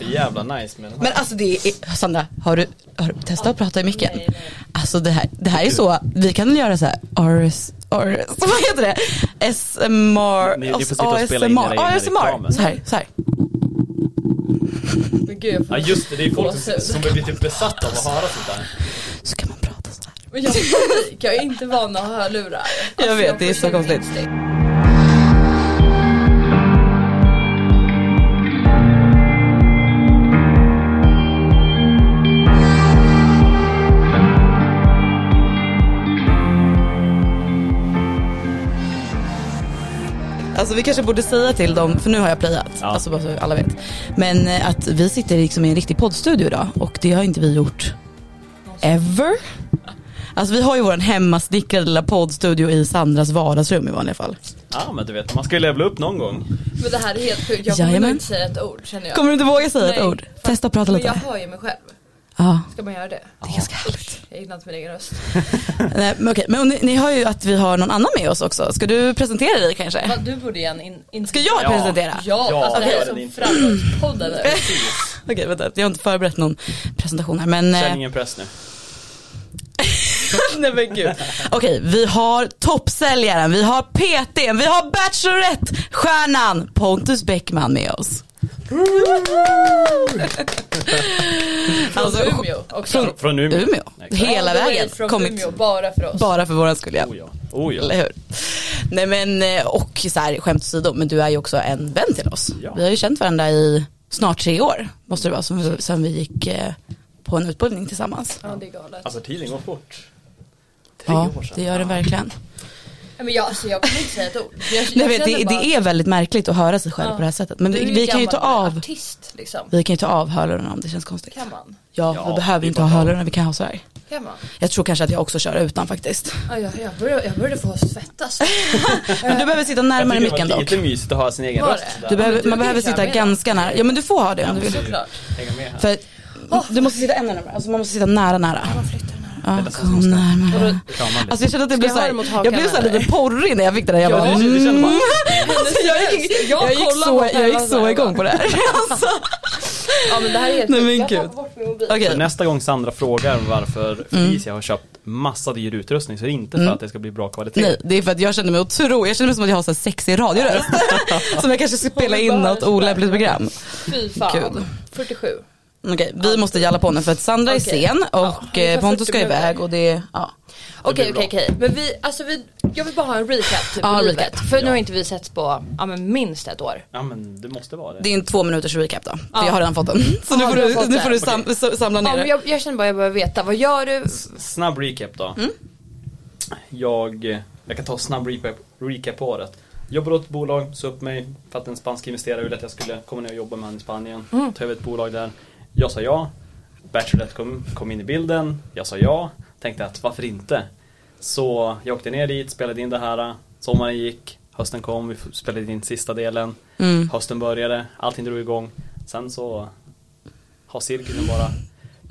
jävla nice med den här. Men alltså det är, Sandra, har du, har du testat att prata i micken? Alltså det här, det här är så, vi kan väl göra så här, RS, RS, vad heter det? SMR, Ni- ni får sitta och spela in era egna ASMR, reklamer. så här, så här. Men gud, jag får... Ja just det, det är folk som, som blir typ besatta av att höra sånt där. Så kan man prata så här. Men jag får panik. Jag är inte van att ha hörlurar. Alltså, Jag vet, får det är så konstigt. instinkt. Alltså vi kanske borde säga till dem, för nu har jag playat, Ja. alltså bara så alla vet. Men eh, att vi sitter liksom i en riktig poddstudio idag och det har inte vi gjort ever. Alltså vi har ju vår hemmasnickrade lilla poddstudio i Sandras vardagsrum i vanliga fall. Ja men du vet, man ska ju levla upp någon gång. Men det här är helt sjukt. Jag kommer nog Jajamän. inte säga ett ord känner jag. Kommer du inte våga säga ett Nej. ord? Testa att prata Men lite. jag Ja, hör ju mig själv. Ska man göra det? det är ganska härligt. Jag gillar inte min egen röst. Nej, men okej, men ni, ni har ju att vi har någon annan med oss också. Ska du presentera dig kanske? Va, du borde igen in, in... Ska jag Ja. presentera? Ja, Ja, alltså det här gör är det som inte. framgångspodden nu. Okej, vänta. Jag har inte förberett någon presentation här, men... eh, Känn ingen press nu. Nej men gud. Okej, vi har toppsäljaren, vi har PTn, vi har Bachelorette-stjärnan Pontus Bäckman med oss. alltså, Från Umeå också. från Från Umeå. Umeå. Exakt. Hela All the way vägen. Från Kommit Umeå, bara för oss. bara för våran skull ja. Oh ja. Oh ja. Eller hur? Nej men eh, och så här, skämt åsido, men du är ju också en vän till oss. Ja. Vi har ju känt varandra i snart tre år, måste det vara, som, som vi gick eh, på en utbildning tillsammans. Ja, det är galet. Alltså tiden går fort. Tre Ja, år sedan. det gör den verkligen. Nej, men jag, alltså, jag kommer inte säga ett ord. Jag, Nej, men det, det är väldigt märkligt att höra sig själv Ja. på det här sättet. Men vi, vi, kan ju ta av, artist liksom. vi kan ju ta av hörlurarna om det känns konstigt. Kan man? Ja, Ja, vi behöver det är ju inte ha bara- hörlurarna, vi kan ha så här. Kan man? Jag tror kanske att jag också kör utan faktiskt. Ja, jag, jag, började, jag började få svettas. Men du behöver sitta Äh. Jag närmare tycker det micken var dock. lite mysigt att ha sin egen Var röst. det? där. Du behöver, men du man kan behöver ju köra sitta med. ganska nära. Ja men du får ha det om du vill. Såklart. Hänga med här. För du måste sitta ännu närmare, alltså man måste sitta nära nära. Ja, kom närmare. Krama lite. Alltså jag kände att det blev jag så ha här, det mot hakan, jag blev så här eller? lite porrig när jag fick det där. Jag Ja. Du bara, känner- du känner bara- alltså, jag gick, jag gick så, jag gick så igång på det här. Alltså. Ja men det här är helt Nej, sjukt. men Jag gud. tappar bort min mobil. Okej. Så nästa gång Sandra frågar Mm. varför Felicia har köpt massa dyr utrustning så är det inte för att det ska bli bra kvalitet. Nej, det är för att jag känner mig otro. Jag känner mig som att jag har så här sexig radioröst. som jag kanske ska spela in något olämpligt program. Fy fan. Gud. 47. Okej, vi måste jalla på nu för att Sandra är Okej. sen Ja, och vi eh, får Pontus ska 40 minuter. iväg och det, ja. Okej bra. okej okej. Men vi, alltså vi, jag vill bara ha en recap typ. Ja, på livet. recap. För nu Ja. har inte vi setts på, ja men minst ett år. Ja men det måste vara det. Det är en två minuters recap då. För Ja. jag har redan fått den. Så nu Ja, får du har du, fått nu får du den. sam, sa- samla Ja, ner men det. jag, jag känner bara jag behöver veta, vad gör du? Snabb recap då. Jag, jag kan ta snabb recap, recap på året. Jobbade åt ett bolag, sa upp mig för att en spansk investerare ville att jag skulle komma ner och jobba med honom i Spanien. Ta över ett bolag där. Jag sa ja. Bachelorette kom, kom in i bilden. Jag sa ja. Tänkte att varför inte? Så jag åkte ner dit, spelade in det här. Sommaren gick, hösten kom, vi spelade in sista delen. Mm. Hösten började, allting drog igång. Sen så har cirkeln bara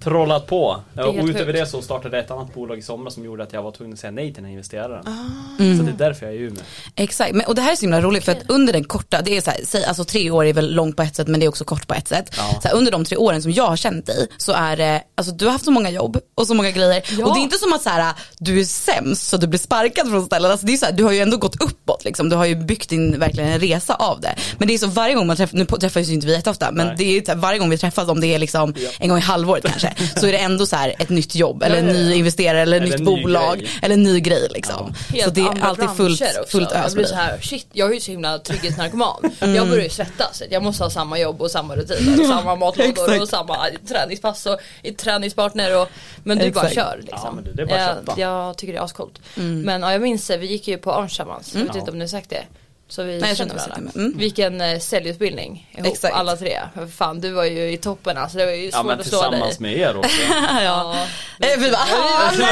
trollat på. är helt Och utöver sjukt. det så startade ett annat bolag i somras som gjorde att jag var tvungen att säga nej till den här investeraren. Ah. Så det är därför jag är i Umeå. Exakt, men, och det här är så himla roligt för att under den korta, det är så här, säg, alltså tre år är väl långt på ett sätt men det är också kort på ett sätt. Ja. Så här, under de tre åren som jag har känt dig så är det, alltså du har haft så många jobb och så många grejer. Ja. Och det är inte som att så här, du är sämst så du blir sparkad från ställen. Alltså, det är så här, du har ju ändå gått uppåt liksom, du har ju byggt din verkligen en resa av det. Men det är så varje gång man träffas, nu träffas ju inte vi jätteofta men Nej. det är så här, varje gång vi träffas om det är liksom en gång i halvåret kanske så är det ändå så här ett nytt jobb eller en Ja, ja, ja. ny investerare eller, Eller nytt en ny bolag grej. eller en ny grej liksom. Så det är andra alltid fullt, branscher också. fullt Jag ös med Mm. blir dig. så här, shit jag är ju så himla trygghetsnarkoman. Jag börjar ju svettas. Jag måste ha samma jobb och samma rutiner och samma matlådor och exakt. samma träningspass och träningspartner. Och, men du bara Exakt. Mm. kör liksom. Ja, men det- det är bara att jag, köpa. jag tycker det är ascoolt. Men ja, jag minns det, vi gick ju på Arn tillsammans. Jag vet inte Ja. om ni har sagt det. Så vi jag tror känner inte vi har sagt varandra. det, men- mm. Vi gick en eh, säljutbildning ihop Exakt. alla tre. För Fan du var ju i toppen alltså. Det var ju svårt Ja men att slå dig. tillsammans med er också. Ja. Eh, Vi bara, ah, nej, nej,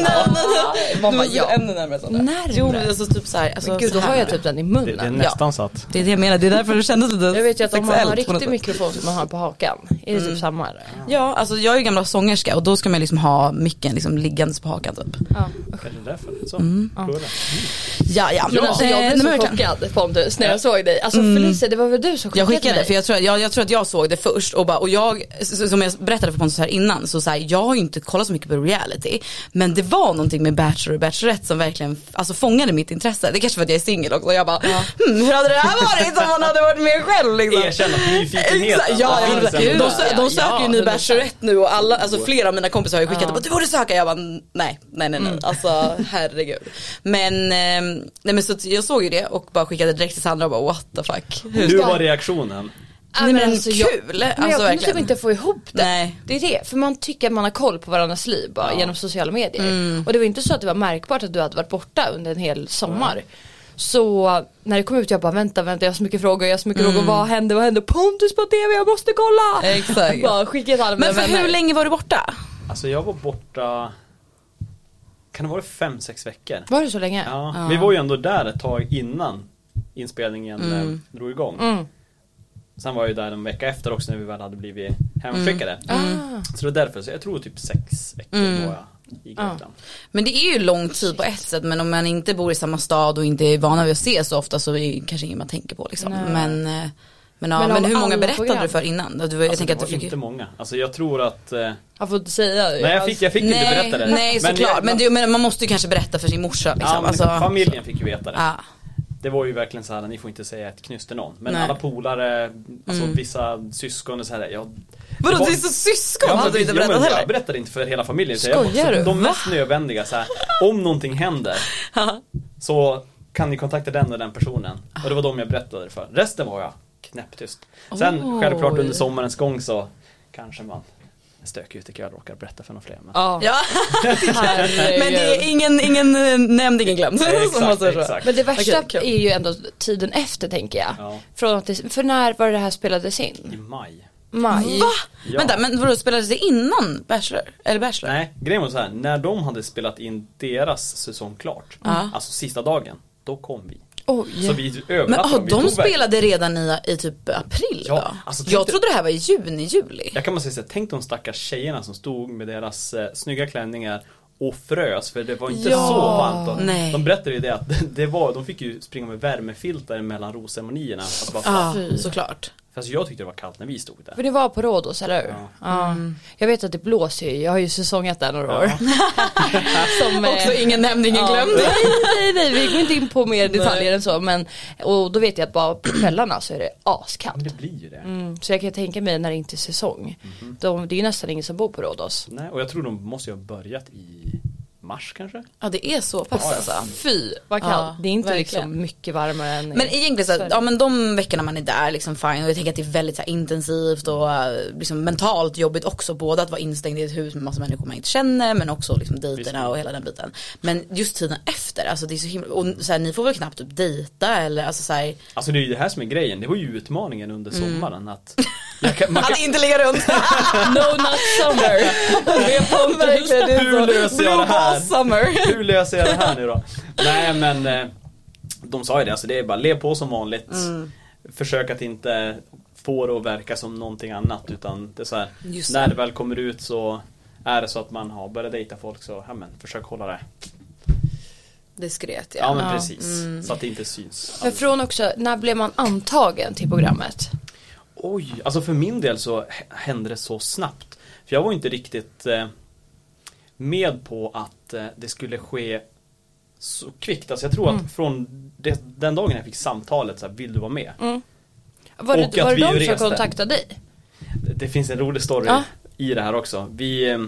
nej, nej. Vad Du var måste jag? sitta ännu närmare Sandra. Närmare? Jo men alltså typ såhär, alltså, Gud så då här har jag närmare. typ den i Det, det munnen. är nästan så att Det är det jag menar, det är därför det kändes lite Jag vet ju att om man har en sexuellt på något riktig sätt. Mm. mikrofon som man har på hakan, är det typ samma eller? Ja, alltså jag är ju gamla sångerska och då ska man liksom ha micken liksom liggandes på hakan typ. Ja. kanske därför. Så, mm. Ja, ja. Men alltså Eh, jag nej, men alltså, blev så verkligen. Mm. chockad, chockad Pontus när jag såg dig. Alltså Felicia det var väl du som skickade, Jag skickade, mig? för jag tror, att- jag, jag tror att jag såg det först och, bara, och jag, s- som jag berättade för Pontus här innan, så, så här, jag har ju inte kollat så mycket på reality, men det var någonting med Bachelor och Bachelorette som verkligen alltså, fångade mitt intresse. Det kanske var att jag är singel också och jag bara, hmm, hur hade det här varit om man hade varit med själv liksom? Erkänn att nyfikenheten Exakt, ja, finns alltså. ja, ändå de, där. sö- de söker ju ny 100%. Bachelorette nu och alla, alltså flera av mina kompisar har ju skickat och bara, du borde söka. Jag bara nej, nej, nej, nej. Alltså herregud. Men, ehm, nej, men så att jag såg ju det och bara skickade direkt till Sandra och bara what the fuck. Hur Hur var reaktionen? Ja, Nej, men jag- kul, Men alltså, jag kunde verkligen. typ inte få ihop det. Nej. Det är det, för man tycker att man har koll på varandras liv bara Ja. genom sociala medier. Mm. Och det var inte så att det var märkbart att du hade varit borta under en hel sommar. Så när det kom ut jag bara vänta, vänta jag har så mycket frågor, jag har så mycket Mm. frågor, vad hände, vad hände, Pontus på TV, jag måste kolla! Exakt. bara skicka till alla mina Men för vänner. hur länge var du borta? Alltså jag var borta, kan det vara fem, sex veckor? Var det så länge? Ja, Ja. vi var ju ändå där ett tag innan inspelningen mm. drog igång. Mm. Sen var jag ju där en vecka efter också när vi väl hade blivit hemskickade. Mm. Ah. Så det var därför, så jag tror typ sex veckor var jag i Grekland. Men det är ju lång tid på ett sätt men om man inte bor i samma stad och inte är vana vid att ses så ofta så är det kanske ingen man tänker på liksom. Nej. Men, eh, men, ja, Men men, av hur många alla berättade program? du för innan? Du, jag Alltså, tänker det att du var fick Liksom, ju- inte många. Alltså jag tror att, eh, Jag får inte säga det. nej jag fick, jag fick inte nej, berätta det. Nej Men såklart, jag- men, det- men man måste ju kanske berätta för sin morsa liksom. ja, men alltså, familjen fick ju veta det. ja. Det var ju verkligen så här, ni får inte säga ett knyst till någon. Men Nej. Mm. alla polare, alltså vissa syskon och så här, jag Vadå var- det är så syskon men hade du inte precis, berättat men heller? Jag berättade inte för hela familjen. så Skojar jag, du? De mest nödvändiga så här, om någonting händer så kan ni kontakta den och den personen. Och det var de jag berättade för. Resten var jag knäpptyst. Sen Oj. självklart under sommarens gång så kanske man stökig ut jag råkar berätta för någon fler. Men... Ja. Ja, Herregud. men det är ingen, ingen eh, nämnd, ingen glömd. Nej, Som man exakt, säger så. exakt. Men det värsta Okej, kul. är ju ändå tiden efter tänker jag. Ja. Från att det, för när var det här spelades I in? maj. Maj? Va? Ja. Vänta, men vadå spelades det innan Bachelor? Eller Bachelor? Nej, grejen var så här. När de hade spelat in deras säsong klart, alltså sista dagen, då kom vi. Oj. Så vi Men övernattade. ah, vi de tog verkligen- spelade redan i, i typ april Ja, då? alltså, jag tänkte- trodde det här var i juni, juli. Jag kan bara säga så här, tänk de stackars tjejerna som stod med deras eh, snygga klänningar och frös för det var inte Ja, så varmt. Och nej. De berättade ju det att det var, de fick ju springa med värmefilter mellan rosceremonierna. Alltså bara, Ja, Ah, Fy. såklart. Fast jag tyckte det var kallt när vi stod där. För ni var på Rhodos, eller hur? Ja. Jag vet att det blåser ju, jag har ju säsongat där några år. Som, eh, Också ingen nämnd, ingen ja, glömd. Nej, nej, nej, vi går inte in på mer detaljer än så. Men, och då vet jag att bara på kvällarna så är det Men askallt. det blir ju det. Mm, Mm-hmm. så jag kan tänka mig när det inte är säsong. De, det är ju nästan ingen som bor på Rhodos. Nej, och jag tror de måste ju ha börjat i mars kanske? Ja, det är så pass Ja, alltså. Fy vad kallt. Ja, det är inte verkligen. liksom mycket varmare än i- Men egentligen så, här, Sverige. ja men de veckorna man är där liksom fine och jag tänker att det är väldigt så här, intensivt och eh, liksom, mentalt jobbigt också både att vara instängd i ett hus med massa människor man inte känner men också liksom dejterna och hela den biten. Men just tiden efter, alltså det är så himla, och så här, ni får väl knappt typ dejta eller alltså så här, Alltså det är ju det här som är grejen, det var ju utmaningen under Mm. sommaren att jag kan, man kan, att inte ligga runt. No not summer. Med Pontus. Verkligen, det är Hur så. löser jag det Blue här? ball summer. hur löser jag det här nu då? Nej men eh, de sa ju det, alltså det är bara lev på som vanligt. Mm. Försök att inte få det att verka som någonting annat utan det är så här, Just när det. det väl kommer ut så är det så att man har börjat dejta folk så ja, men, försök hålla det. Diskret Ja, men precis. Mm. Så att det inte syns. Men från också, när blev man antagen till programmet? Oj, alltså för min del så h- hände det så snabbt. För jag var inte riktigt eh, med på att eh, det skulle ske så kvickt. Alltså jag tror Mm. att från det, den dagen jag fick samtalet så här, vill du vara med? Mm. Var Och det, att var vi det de som reste. kontaktade dig? Det finns en rolig story Ja. i det här också. Vi, eh,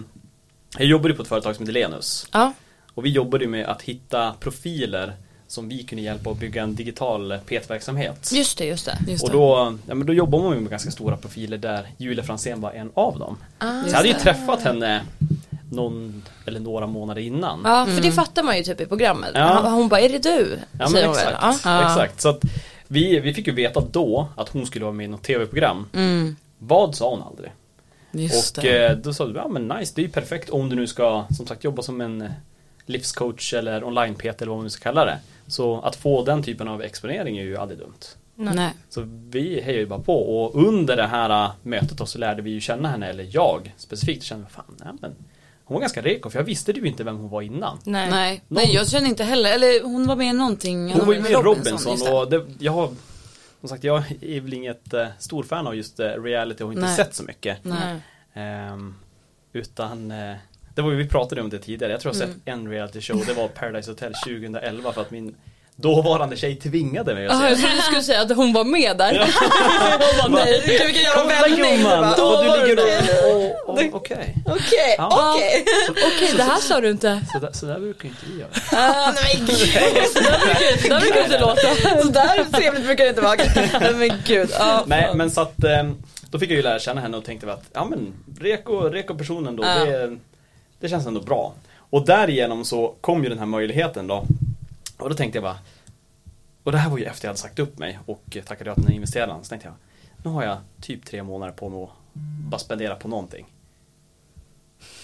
jag jobbade på ett företag som heter Lenus. Ja. Och vi jobbade med att hitta profiler som vi kunde hjälpa att bygga en digital PT-verksamhet. Just det, just det. Just Och det. då, ja, men då jobbar man ju med ganska stora profiler där Julia Franzén var en av dem. så jag hade ju träffat henne någon eller några månader innan. Ja, för det fattar man ju typ i programmet. Ja. Hon- Hon bara, är det du? Ja, men Säger hon väl. exakt. exakt. Så att vi, vi fick ju veta då att hon skulle vara med i något tv-program. Vad sa hon aldrig? Just och det. eh, då sa du, ja men nice, det är ju perfekt om du nu ska som sagt jobba som en eh, livscoach eller online-PT eller vad man nu ska kalla det. Så att få den typen av exponering är ju aldrig dumt. Nej. Så vi hejade ju bara på och under det här äh, mötet då så lärde vi ju känna henne, eller jag specifikt kände, fan, nej men Hon var ganska reko för jag visste ju inte vem hon var innan. Nej. Nej. Nej, jag känner inte heller, eller hon var med i någonting. Hon var ju med i just Robinson det. och det, jag har som sagt, jag är väl inget eh, stor fan av just eh, reality och har inte Nej. sett så mycket. Nej. Ehm, utan eh, det var ju, vi pratade om det tidigare, jag tror jag har sett Mm. en reality show, det var Paradise Hotel 2011 för att min dåvarande tjej tvingade mig att Jaha, se jag trodde du skulle säga att hon var med där. Hon bara, nej, gud, vilken jävla Kolla vändning. gumman, Då och var du ligger det det. och, och, och okej. Okej, Ja. okej. Okej, det här sa du inte. Så, där, så där brukar inte vi göra. Ah, nej men gud. Det där brukar inte låta. Sådär trevligt brukar det inte vara. Nej, Men gud. Ja. Nej men så att ehm, då fick jag ju lära känna henne och tänkte väl att ja men reko, reko personen då Ja. det, det känns ändå bra. Och därigenom så kom ju den här möjligheten då. Och då tänkte jag bara Och det här var ju efter jag hade sagt upp mig och tackade ja till den här investeraren. Så tänkte jag Nu har jag typ tre månader på mig att bara spendera på någonting.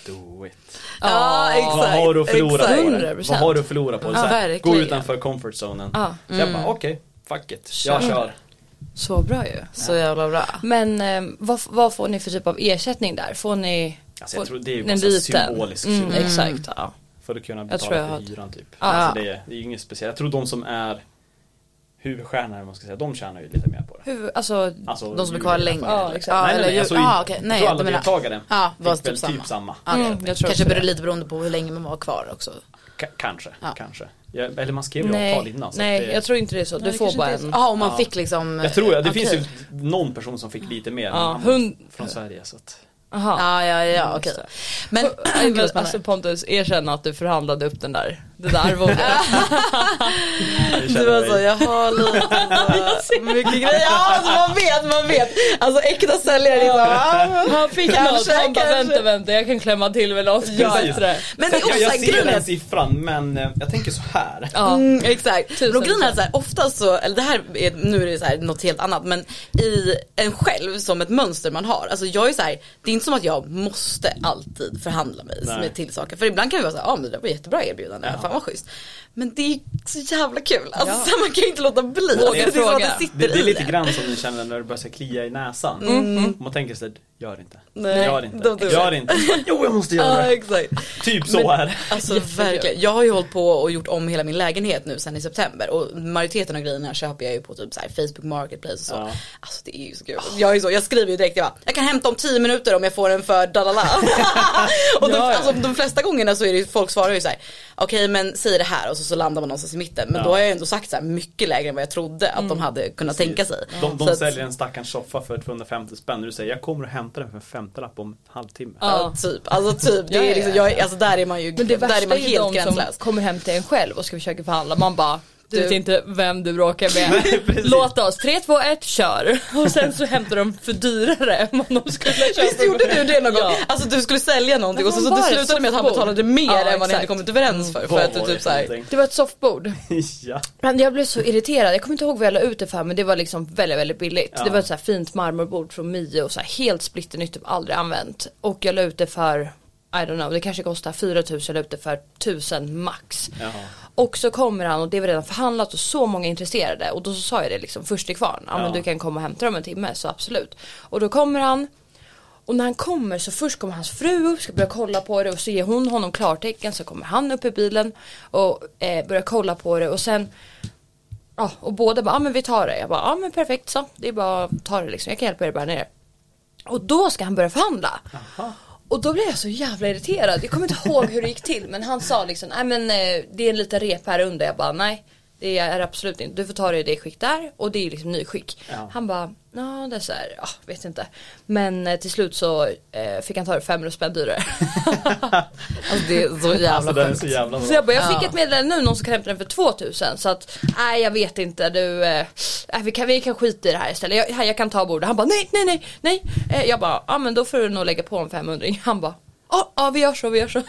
Do it. Ja, exakt. Vad har du att förlora exakt. på det? 100%. Vad har du att förlora på det? Ja, Så här, Gå verkligen. utanför comfort zonen. Ja. Så jag Mm. bara okej, fuck it. Jag Kör. kör. Så bra ju. Så jävla bra. Men eh, vad, vad får ni för typ av ersättning där? Får ni Alltså jag får- tror det är ju en bara så här liten? symbolisk Mm, summa. Exakt, ja. För att kunna Jag tror jag betala för har- hyran typ. Ja. Alltså det, är, det är ju inget speciellt. Jag tror de som är huvudstjärnor, om man ska säga, de tjänar ju lite mer på det. Hur, alltså, Alltså, De som är ju- kvar länge. Ja, eller? exakt. Ja, nej, nej, nej, eller alltså, ju- ah, okej. jag Nej, tror alla jag menar- deltagare Ja, var fick väl typ samma. typ samma. Ja, Mm, jag vet. jag tror Kanske också beror det. lite beroende på hur länge man var kvar också. Ka- kanske, Ja. kanske. Ja, eller man skrev ju avtal nej, innan. så att nej det, jag tror inte det är så. Du det får kanske bara inte är en. så- Ja, om man Ja. fick liksom. jag tror, ja, det okej. finns ju någon person som fick lite mer. men Ja, han var hund- Från Sverige så att. Aha. Ja, ja, Mm, ja, okej. Men, Men, gud, vad spännande. alltså Pontus, erkänn att du förhandlade upp den där, det där arvodet. Jag Du känner var mig- så, jag har lite så mycket grejer. Ja, alltså man vet, man vet. Alltså äkta säljare liksom. Ja, Han fick Kanske, något, han bara kanske. vänta vänta jag kan klämma till med något Ja, bättre. Men det är jag, jag också ser grejen är den att- siffran men eh, jag tänker så här. Ja. Mm, exakt. Tusen Men grejen är procent. så här, oftast så, eller det här är, nu är det så här något helt annat, men i en själv som ett mönster man har. Alltså jag är så här, det är inte som att jag måste alltid förhandla mig Nej. med till saker. För ibland kan vi vara så här, ja ah, men det var jättebra erbjudande, Ja. fan vad schysst. Men det är så jävla kul, alltså så här, man kan ju inte låta bli. Alltså, det är som att fråga. det sitter Det, det är i lite en. grann som du känner när du börjar så här klia i näsan. Om man tänker såhär, gör inte. Nej, gör don't inte. do it. Gör inte. Jo jag måste göra Ja det. exakt. Typ så är det. Alltså Jättekul. verkligen, jag har ju hållit på och gjort om hela min lägenhet nu sen i september och majoriteten av grejerna köper jag ju på typ så här Facebook Marketplace och så. Ja. Alltså det är ju så kul. Jag, är ju så, jag skriver ju direkt, jag bara, jag kan hämta om 10 minuter om jag får en för dalala. och de, Ja, ja. alltså, de flesta gångerna så är det ju, folk svarar ju så här, okej men säg det här och så, så landar man någonstans i mitten. Men Ja. då har jag ju ändå sagt så här mycket lägre än vad jag trodde att Mm. de hade kunnat tänka sig. De, Så de att- säljer en stackars soffa för 250 spänn och du säger jag kommer och hämtar den för en femtelapp om en halvtimme. Ja, typ, alltså typ, det Ja, ja, är liksom, ja. jag, alltså där är man ju, Men det där är värsta man är ju helt de som gränslös. kommer hem till en själv och ska försöka förhandla, man bara du Du- vet inte vem du bråkar med. Nej, precis. Låt oss, 3, 2, 1, kör! Och sen så hämtar de för dyrare än vad de skulle köpa. Visst gjorde du det någon gång? Ja. Alltså du skulle sälja någonting och så, Men så vad det var det? slutade med att han Soffbord? betalade mer Ja, än vad ni hade exakt. kommit överens för. För Vad att du var det typ såhär, någonting? Det var ett soffbord. ja. alltså, Men jag blev så irriterad, jag kommer inte ihåg vad jag la ut det för men det var liksom väldigt väldigt billigt. Ja. Det var ett så här fint marmorbord från Mio och så här helt splitternytt, typ aldrig använt. Och jag la ut det för, I don't know, det kanske kostar 4000, jag la ut det för 1000 max. Jaha. Och så kommer han och det var redan förhandlat och så många intresserade och då så sa jag det liksom först i kvarn, ja, Ja. men du kan komma och hämta dem en timme så absolut. Och då kommer han och när han kommer så först kommer hans fru upp, ska börja kolla på det och så ger hon honom klartecken så kommer han upp i bilen och eh, börjar kolla på det och sen Ja, och båda bara, ja ah, men vi tar det. Jag bara, ja ah, men perfekt så. Det är bara att ta det liksom. Jag kan hjälpa er att bära ner det. Och då ska han börja förhandla. Och då blev jag så jävla irriterad. Jag kommer inte ihåg hur det gick till men han sa liksom, nej men eh, det är en liten rep här under. Jag bara, nej det är det absolut inte. Du får ta det i det skick där och det är liksom nyskick. Ja. Han bara, ja det är så här, ja vet inte. Men eh, till slut så eh, fick han ta det 500 spänn dyrare. alltså, det är så jävla Alltså den är sjukt. så jävla bra. Så jag bara, jag fick Ja. ett meddelande nu, någon som kan hämta den för 2000 så att nej jag vet inte du, eh, nej, vi, kan, vi kan skita i det här istället, jag, här, jag kan ta bordet. Han bara nej, nej, nej, nej. Eh, jag bara, ja men då får du nog lägga på en 500 Han bara, ja ja vi gör så, vi gör så.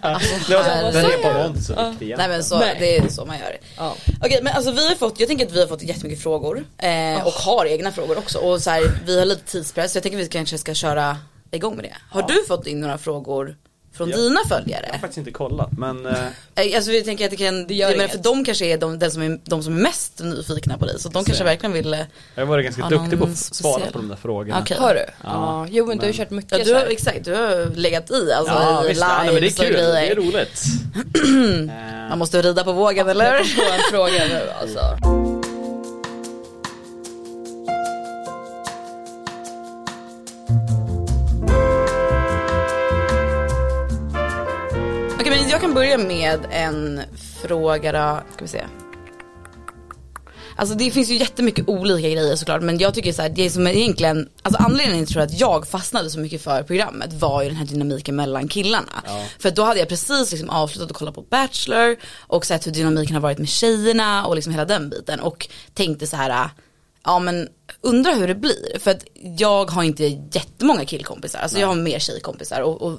Alltså, Det var- Herre. Den repan var inte så viktig Nej men egentligen. så, Nej. det är så man gör. Ja. Okej men alltså vi har fått, jag tänker att vi har fått jättemycket frågor eh, och har egna frågor också och så här, vi har lite tidspress så jag tänker att vi kanske ska köra igång med det. Har du fått in några frågor från Ja. dina Jag har följare? faktiskt inte kollat men eh, Eh, Alltså vi tänker att det kan, Det gör men inget. för de kanske är de, den som är de som är mest nyfikna på dig så de Just kanske det. verkligen vill, eh, jag har varit ganska Ja, duktig på någon att svara speciell. på de där frågorna. Okej. Har du? Ja. Ja. Jo men du har ju Men- kört mycket ja, du så har, här. exakt du har legat i alltså Ja i visst, ja, nej, men det är lives och kul, det är grejer. roligt. Man Eh, måste rida på vågen eller? Jag kom på en fråga nu alltså. Okej men jag kan börja med en fråga då, ska vi se. Alltså det finns ju jättemycket olika grejer såklart men jag tycker så här, det som är egentligen, alltså anledningen till att jag fastnade så mycket för programmet var ju den här dynamiken mellan killarna. Ja. För då hade jag precis liksom avslutat att kolla på Bachelor och sett hur dynamiken har varit med tjejerna och liksom hela den biten och tänkte så här, ja men undra hur det blir. För att jag har inte jättemånga killkompisar, alltså jag har mer tjejkompisar och, och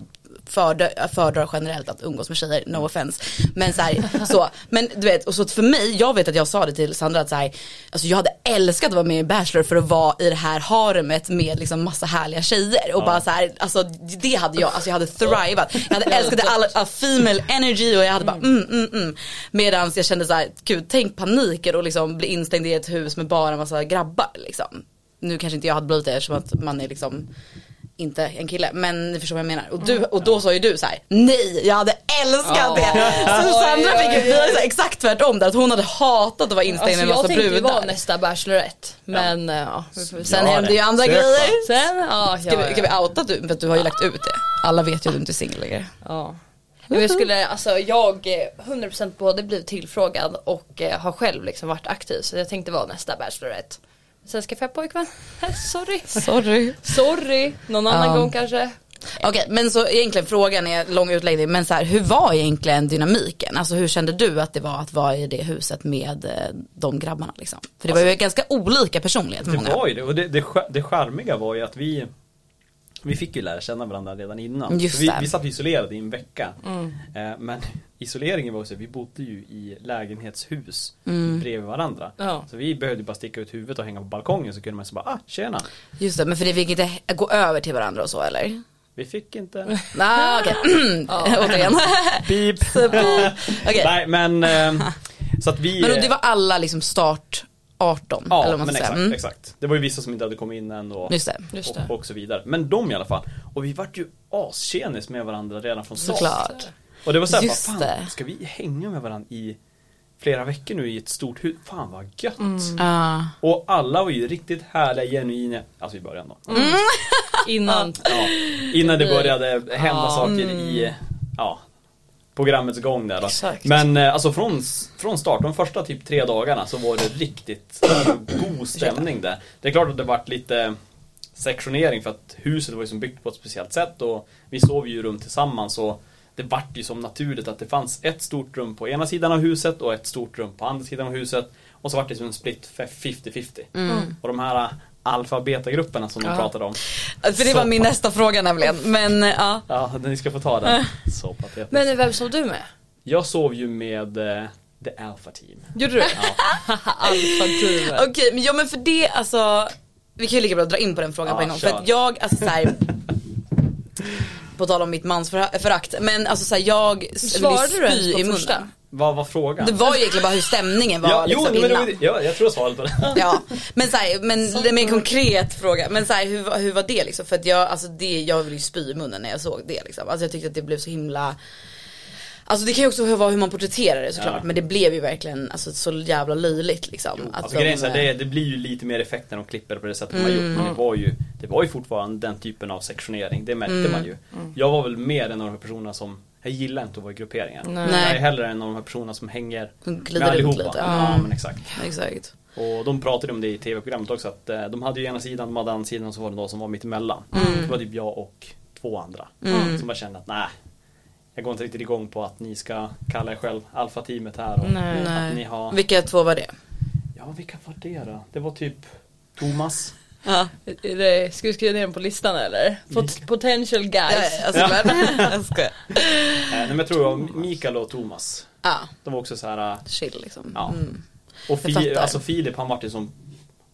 fördö- jag föredrar generellt att umgås med tjejer, no offense. Men så, här, så men du vet, och så att för mig, jag vet att jag sa det till Sandra att så här, alltså jag hade älskat att vara med i Bachelor för att vara i det här haremet med liksom massa härliga tjejer och bara så här, alltså det hade jag, alltså jag hade thrivat. Jag hade älskat all, all female energy och jag hade bara mm, mm, mm. Medan jag kände så här, gud tänk paniken och liksom bli instängd i ett hus med bara en massa grabbar liksom. Nu kanske inte jag hade blivit det eftersom att man är liksom inte en kille, men ni förstår vad jag menar. Och, du, och då sa ju du så här: nej jag hade älskat det. Så Oj, Sandra fick ju, oj, vi var ju så här exakt tvärtom där, att hon hade hatat att vara instängd Alltså, med en massa jag tänkte ju vara brudar. nästa Bachelorette men eh, ja. vi får- Sen Ja, hände ju det. andra Sök, grejer. va? Sen, ja, ja, Ska vi, ja. ska vi outa att du, för att du har ju lagt ut det. Alla vet ju att du inte är singel längre. Ja. Men jag skulle, alltså jag eh, 100% både blivit tillfrågad och eh, har själv liksom varit aktiv så jag tänkte vara nästa Bachelorette. Sen ska jag få pojkvän. Sorry. Sorry. Sorry. Någon annan Ja. gång kanske. Okej, men så egentligen frågan är lång utläggning, men så här, hur var egentligen dynamiken? Alltså hur kände du att det var att vara i det huset med eh, de grabbarna liksom? För det var ju Alltså- ganska olika personlighet Det många. var ju det och det, det, sk- det charmiga var ju att vi Vi fick ju lära känna varandra redan innan. Just Så vi, det. Mm. vi satt isolerade i en vecka. Eh, Men isoleringen var ju så, vi bodde ju i lägenhetshus Mm. bredvid varandra. Ja. Så vi behövde bara sticka ut huvudet och hänga på balkongen så kunde man så bara, ah tjena. Just det, men för det fick inte gå över till varandra och så eller? Vi fick inte Nej, okej. Återigen. Pip! Okej. Nej men eh, Så att vi eh, Men då, det var alla liksom start 18 Ja eller men vad man ska exakt, säga. Mm. exakt. Det var ju vissa som inte hade kommit in än och, Just det. Just det. och, och så vidare. Men de i alla fall. Och vi vart ju astjenis med varandra redan från start. Såklart. Och det var såhär, Just fan det. ska vi hänga med varandra i flera veckor nu i ett stort hus? Fan vad gött! Ah. Och alla var ju riktigt härliga, genuina, alltså i början då. Innan. Ja, innan det började hända saker i ja, programmets gång där då. Exakt. Men eh, alltså från, från start, de första typ tre dagarna så var det riktigt god stämning där. Det är klart att det vart lite sektionering för att huset var ju som byggt på ett speciellt sätt och vi sov ju i rum tillsammans och det vart ju som naturligt att det fanns ett stort rum på ena sidan av huset och ett stort rum på andra sidan av huset. Och så vart det som en split 50-50. Och de här alfa-beta-grupperna som de pratade om. För det var min nästa fråga nämligen. Men eh, ja. Ja, ni ska få ta den. Så patetiskt. Men vem sov du med? Jag sov ju med eh, The Alpha Team. Gjorde du? Alfa teamet. Okej, men, ja, men för det alltså. Vi kan ju lika bra dra in på den frågan Ja, på en gång. kör. För att jag, alltså såhär. på tal om mitt mansförakt. Men alltså såhär jag Svarade du ens på i munnen. första? Vad var frågan? Det var ju egentligen bara hur stämningen var ja, liksom, jo, men det innan. var, ja, jag tror jag svarade på det. Ja, men såhär, men det är mer en konkret fråga. Men såhär, hur, var- hur var det liksom? För att jag, alltså det, jag ville ju spy i munnen när jag såg det liksom. Alltså jag tyckte att det blev så himla Alltså det kan ju också vara hur man porträtterar det såklart Ja. men det blev ju verkligen alltså, så jävla löjligt liksom. att Alltså, de- Mm. grejen är så här, det, det blir ju lite mer effekt när de klipper på det sättet de har gjort. Men det var, ju, det var ju fortfarande den typen av sektionering, det märkte Mm. man ju. Jag var väl mer en av de här personerna som, jag gillar inte att vara i grupperingar. Nej. Jag är hellre en av de här personerna som hänger Som glider med runt allihopa. lite. Ja, men exakt. Exakt. Och de pratade om det i tv-programmet också att eh, de hade ju ena sidan, de hade andra sidan och så var det någon som var mitt emellan. Det var typ jag och två andra. Som bara kände att nej, jag går inte riktigt igång på att ni ska kalla er själv alfa-teamet här. Och Nej. Att ni Nej. har... Vilka två var det? Ja, vilka var det då? Det var typ Thomas. Ja, Är det- Ska vi skriva ner dem på listan eller? Pot- potential guys. alltså, ja. jag skojar. Eh, nej, men jag tror det var Mikael och Thomas. Ja, De var också så här. eh, chill liksom. Ja. Mm. Och Jag Fi, fattar. alltså Filip han var ju som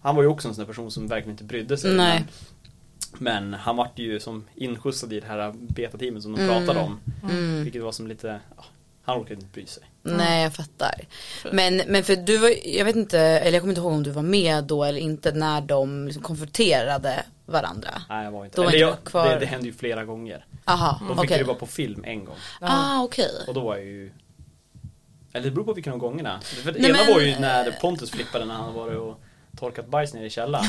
Han var ju också en sån där person som verkligen inte brydde sig Nej. men Men han vart ju som inskjutsad i det här betateamet som de Mm. pratade om. Vilket var som lite, ja, han orkade inte bry sig. Nej jag fattar. Men, men för du var, jag vet inte, eller jag kommer inte ihåg om du var med då eller inte när de liksom konfronterade varandra. Nej, jag var inte. Då var Eller inte jag, du kvar. Det, det hände ju flera gånger. Aha, De fick okej. ju vara på film en gång. Ah okej. Och då var jag ju Eller det beror på vilken av gångerna. För det Nej, ena men- var ju när Pontus flippade när han var och torkat bajs nere i källaren.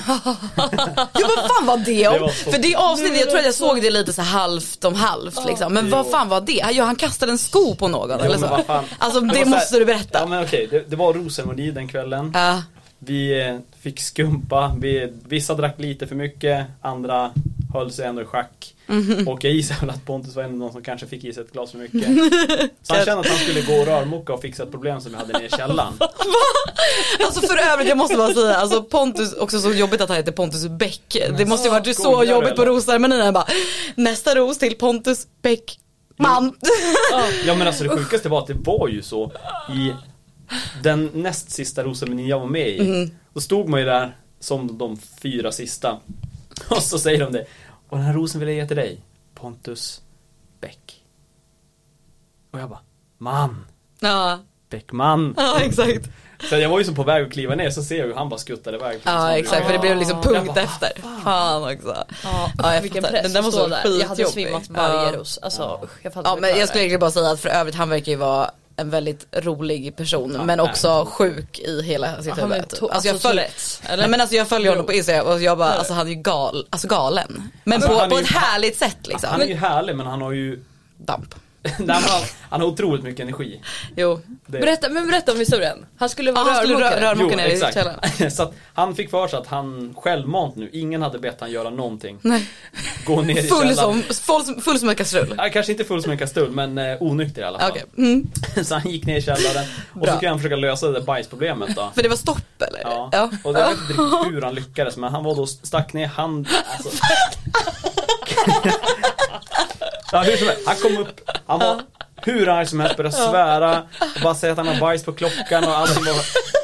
Ja men fan var det Det om? var så- För det avsnittet, jag tror att jag såg det lite så här halvt om halvt liksom. Men vad Jo. fan var det? Ja, han kastade en sko på någon Jo, eller men så. vad fan. Alltså var det, så här- måste du berätta. Ja men okej, det, det var rosemoni den kvällen. Ja. Vi eh, fick skumpa, vi, vissa drack lite för mycket, andra höll sig ändå i schack. Och jag gissar väl att Pontus var en av de som kanske fick i sig ett glas för mycket. Så han kände att han skulle gå och rörmoka och fixa ett problem som vi hade nere i källaren. Alltså för övrigt jag måste bara säga, alltså Pontus, också så jobbigt att han heter Pontus Bäck. Det måste ju varit så skojar du, jobbigt på eller? rosceremonin. Han bara, nästa ros till Pontus Bäck. Man! Ja men alltså det sjukaste var att det var ju så i den näst sista roseremonin jag var med i. Då stod man ju där som de fyra sista. Och så säger de det. Och den här rosen vill jag ge till dig. Pontus Bäck. Och jag bara, man. Ja, Bäckman. ja exakt. Så jag var ju som på väg att kliva ner så ser jag hur han bara skuttade iväg. Ja exakt för det blev liksom Jag punkt bara, efter. Fan också. Ja, Ja, jag vilken fattar. press Den där att måste stå vara där. Jag hade skitjobbig. svimmat varje Ja. ros. Alltså usch, jag fattar Ja inte men vad jag det skulle är. egentligen bara säga att för övrigt han verkar ju vara en väldigt rolig person men nej. också sjuk i hela sitt Ja, han var huvud. to- Alltså jag alltså följer Tourettes, Nej, men alltså jag följer honom på Instagram och jag bara, Eller? alltså han är ju gal, alltså galen. Men Alltså, han är på, på ju- ett härligt sätt liksom. Han är ju härlig men han har ju, Damp. nej, men han, han har otroligt mycket energi. Jo. Det- Berätta, men berätta om historien. Han skulle Ja, vara han skulle rö- rörmokare. Jo, rörmokaren i exakt. källaren. så att han fick för sig att han självmant nu, ingen hade bett han göra någonting. Gå ner i Full källaren. som, full, som- full som en kastrull. Ja, kanske inte full som en kastrull men eh, onykter i alla fall. Okej. Mm. Så han gick ner i källaren och så Bra. skulle han försöka lösa det där bajsproblemet då. För det var stopp eller? Ja. Ja. Och jag vet inte riktigt hur han lyckades men han var då stack ner hand... Alltså. ja, hur som helst, han kom upp, han var hur arg som helst, började svära och bara säga att han har bajs på klockan och allting var,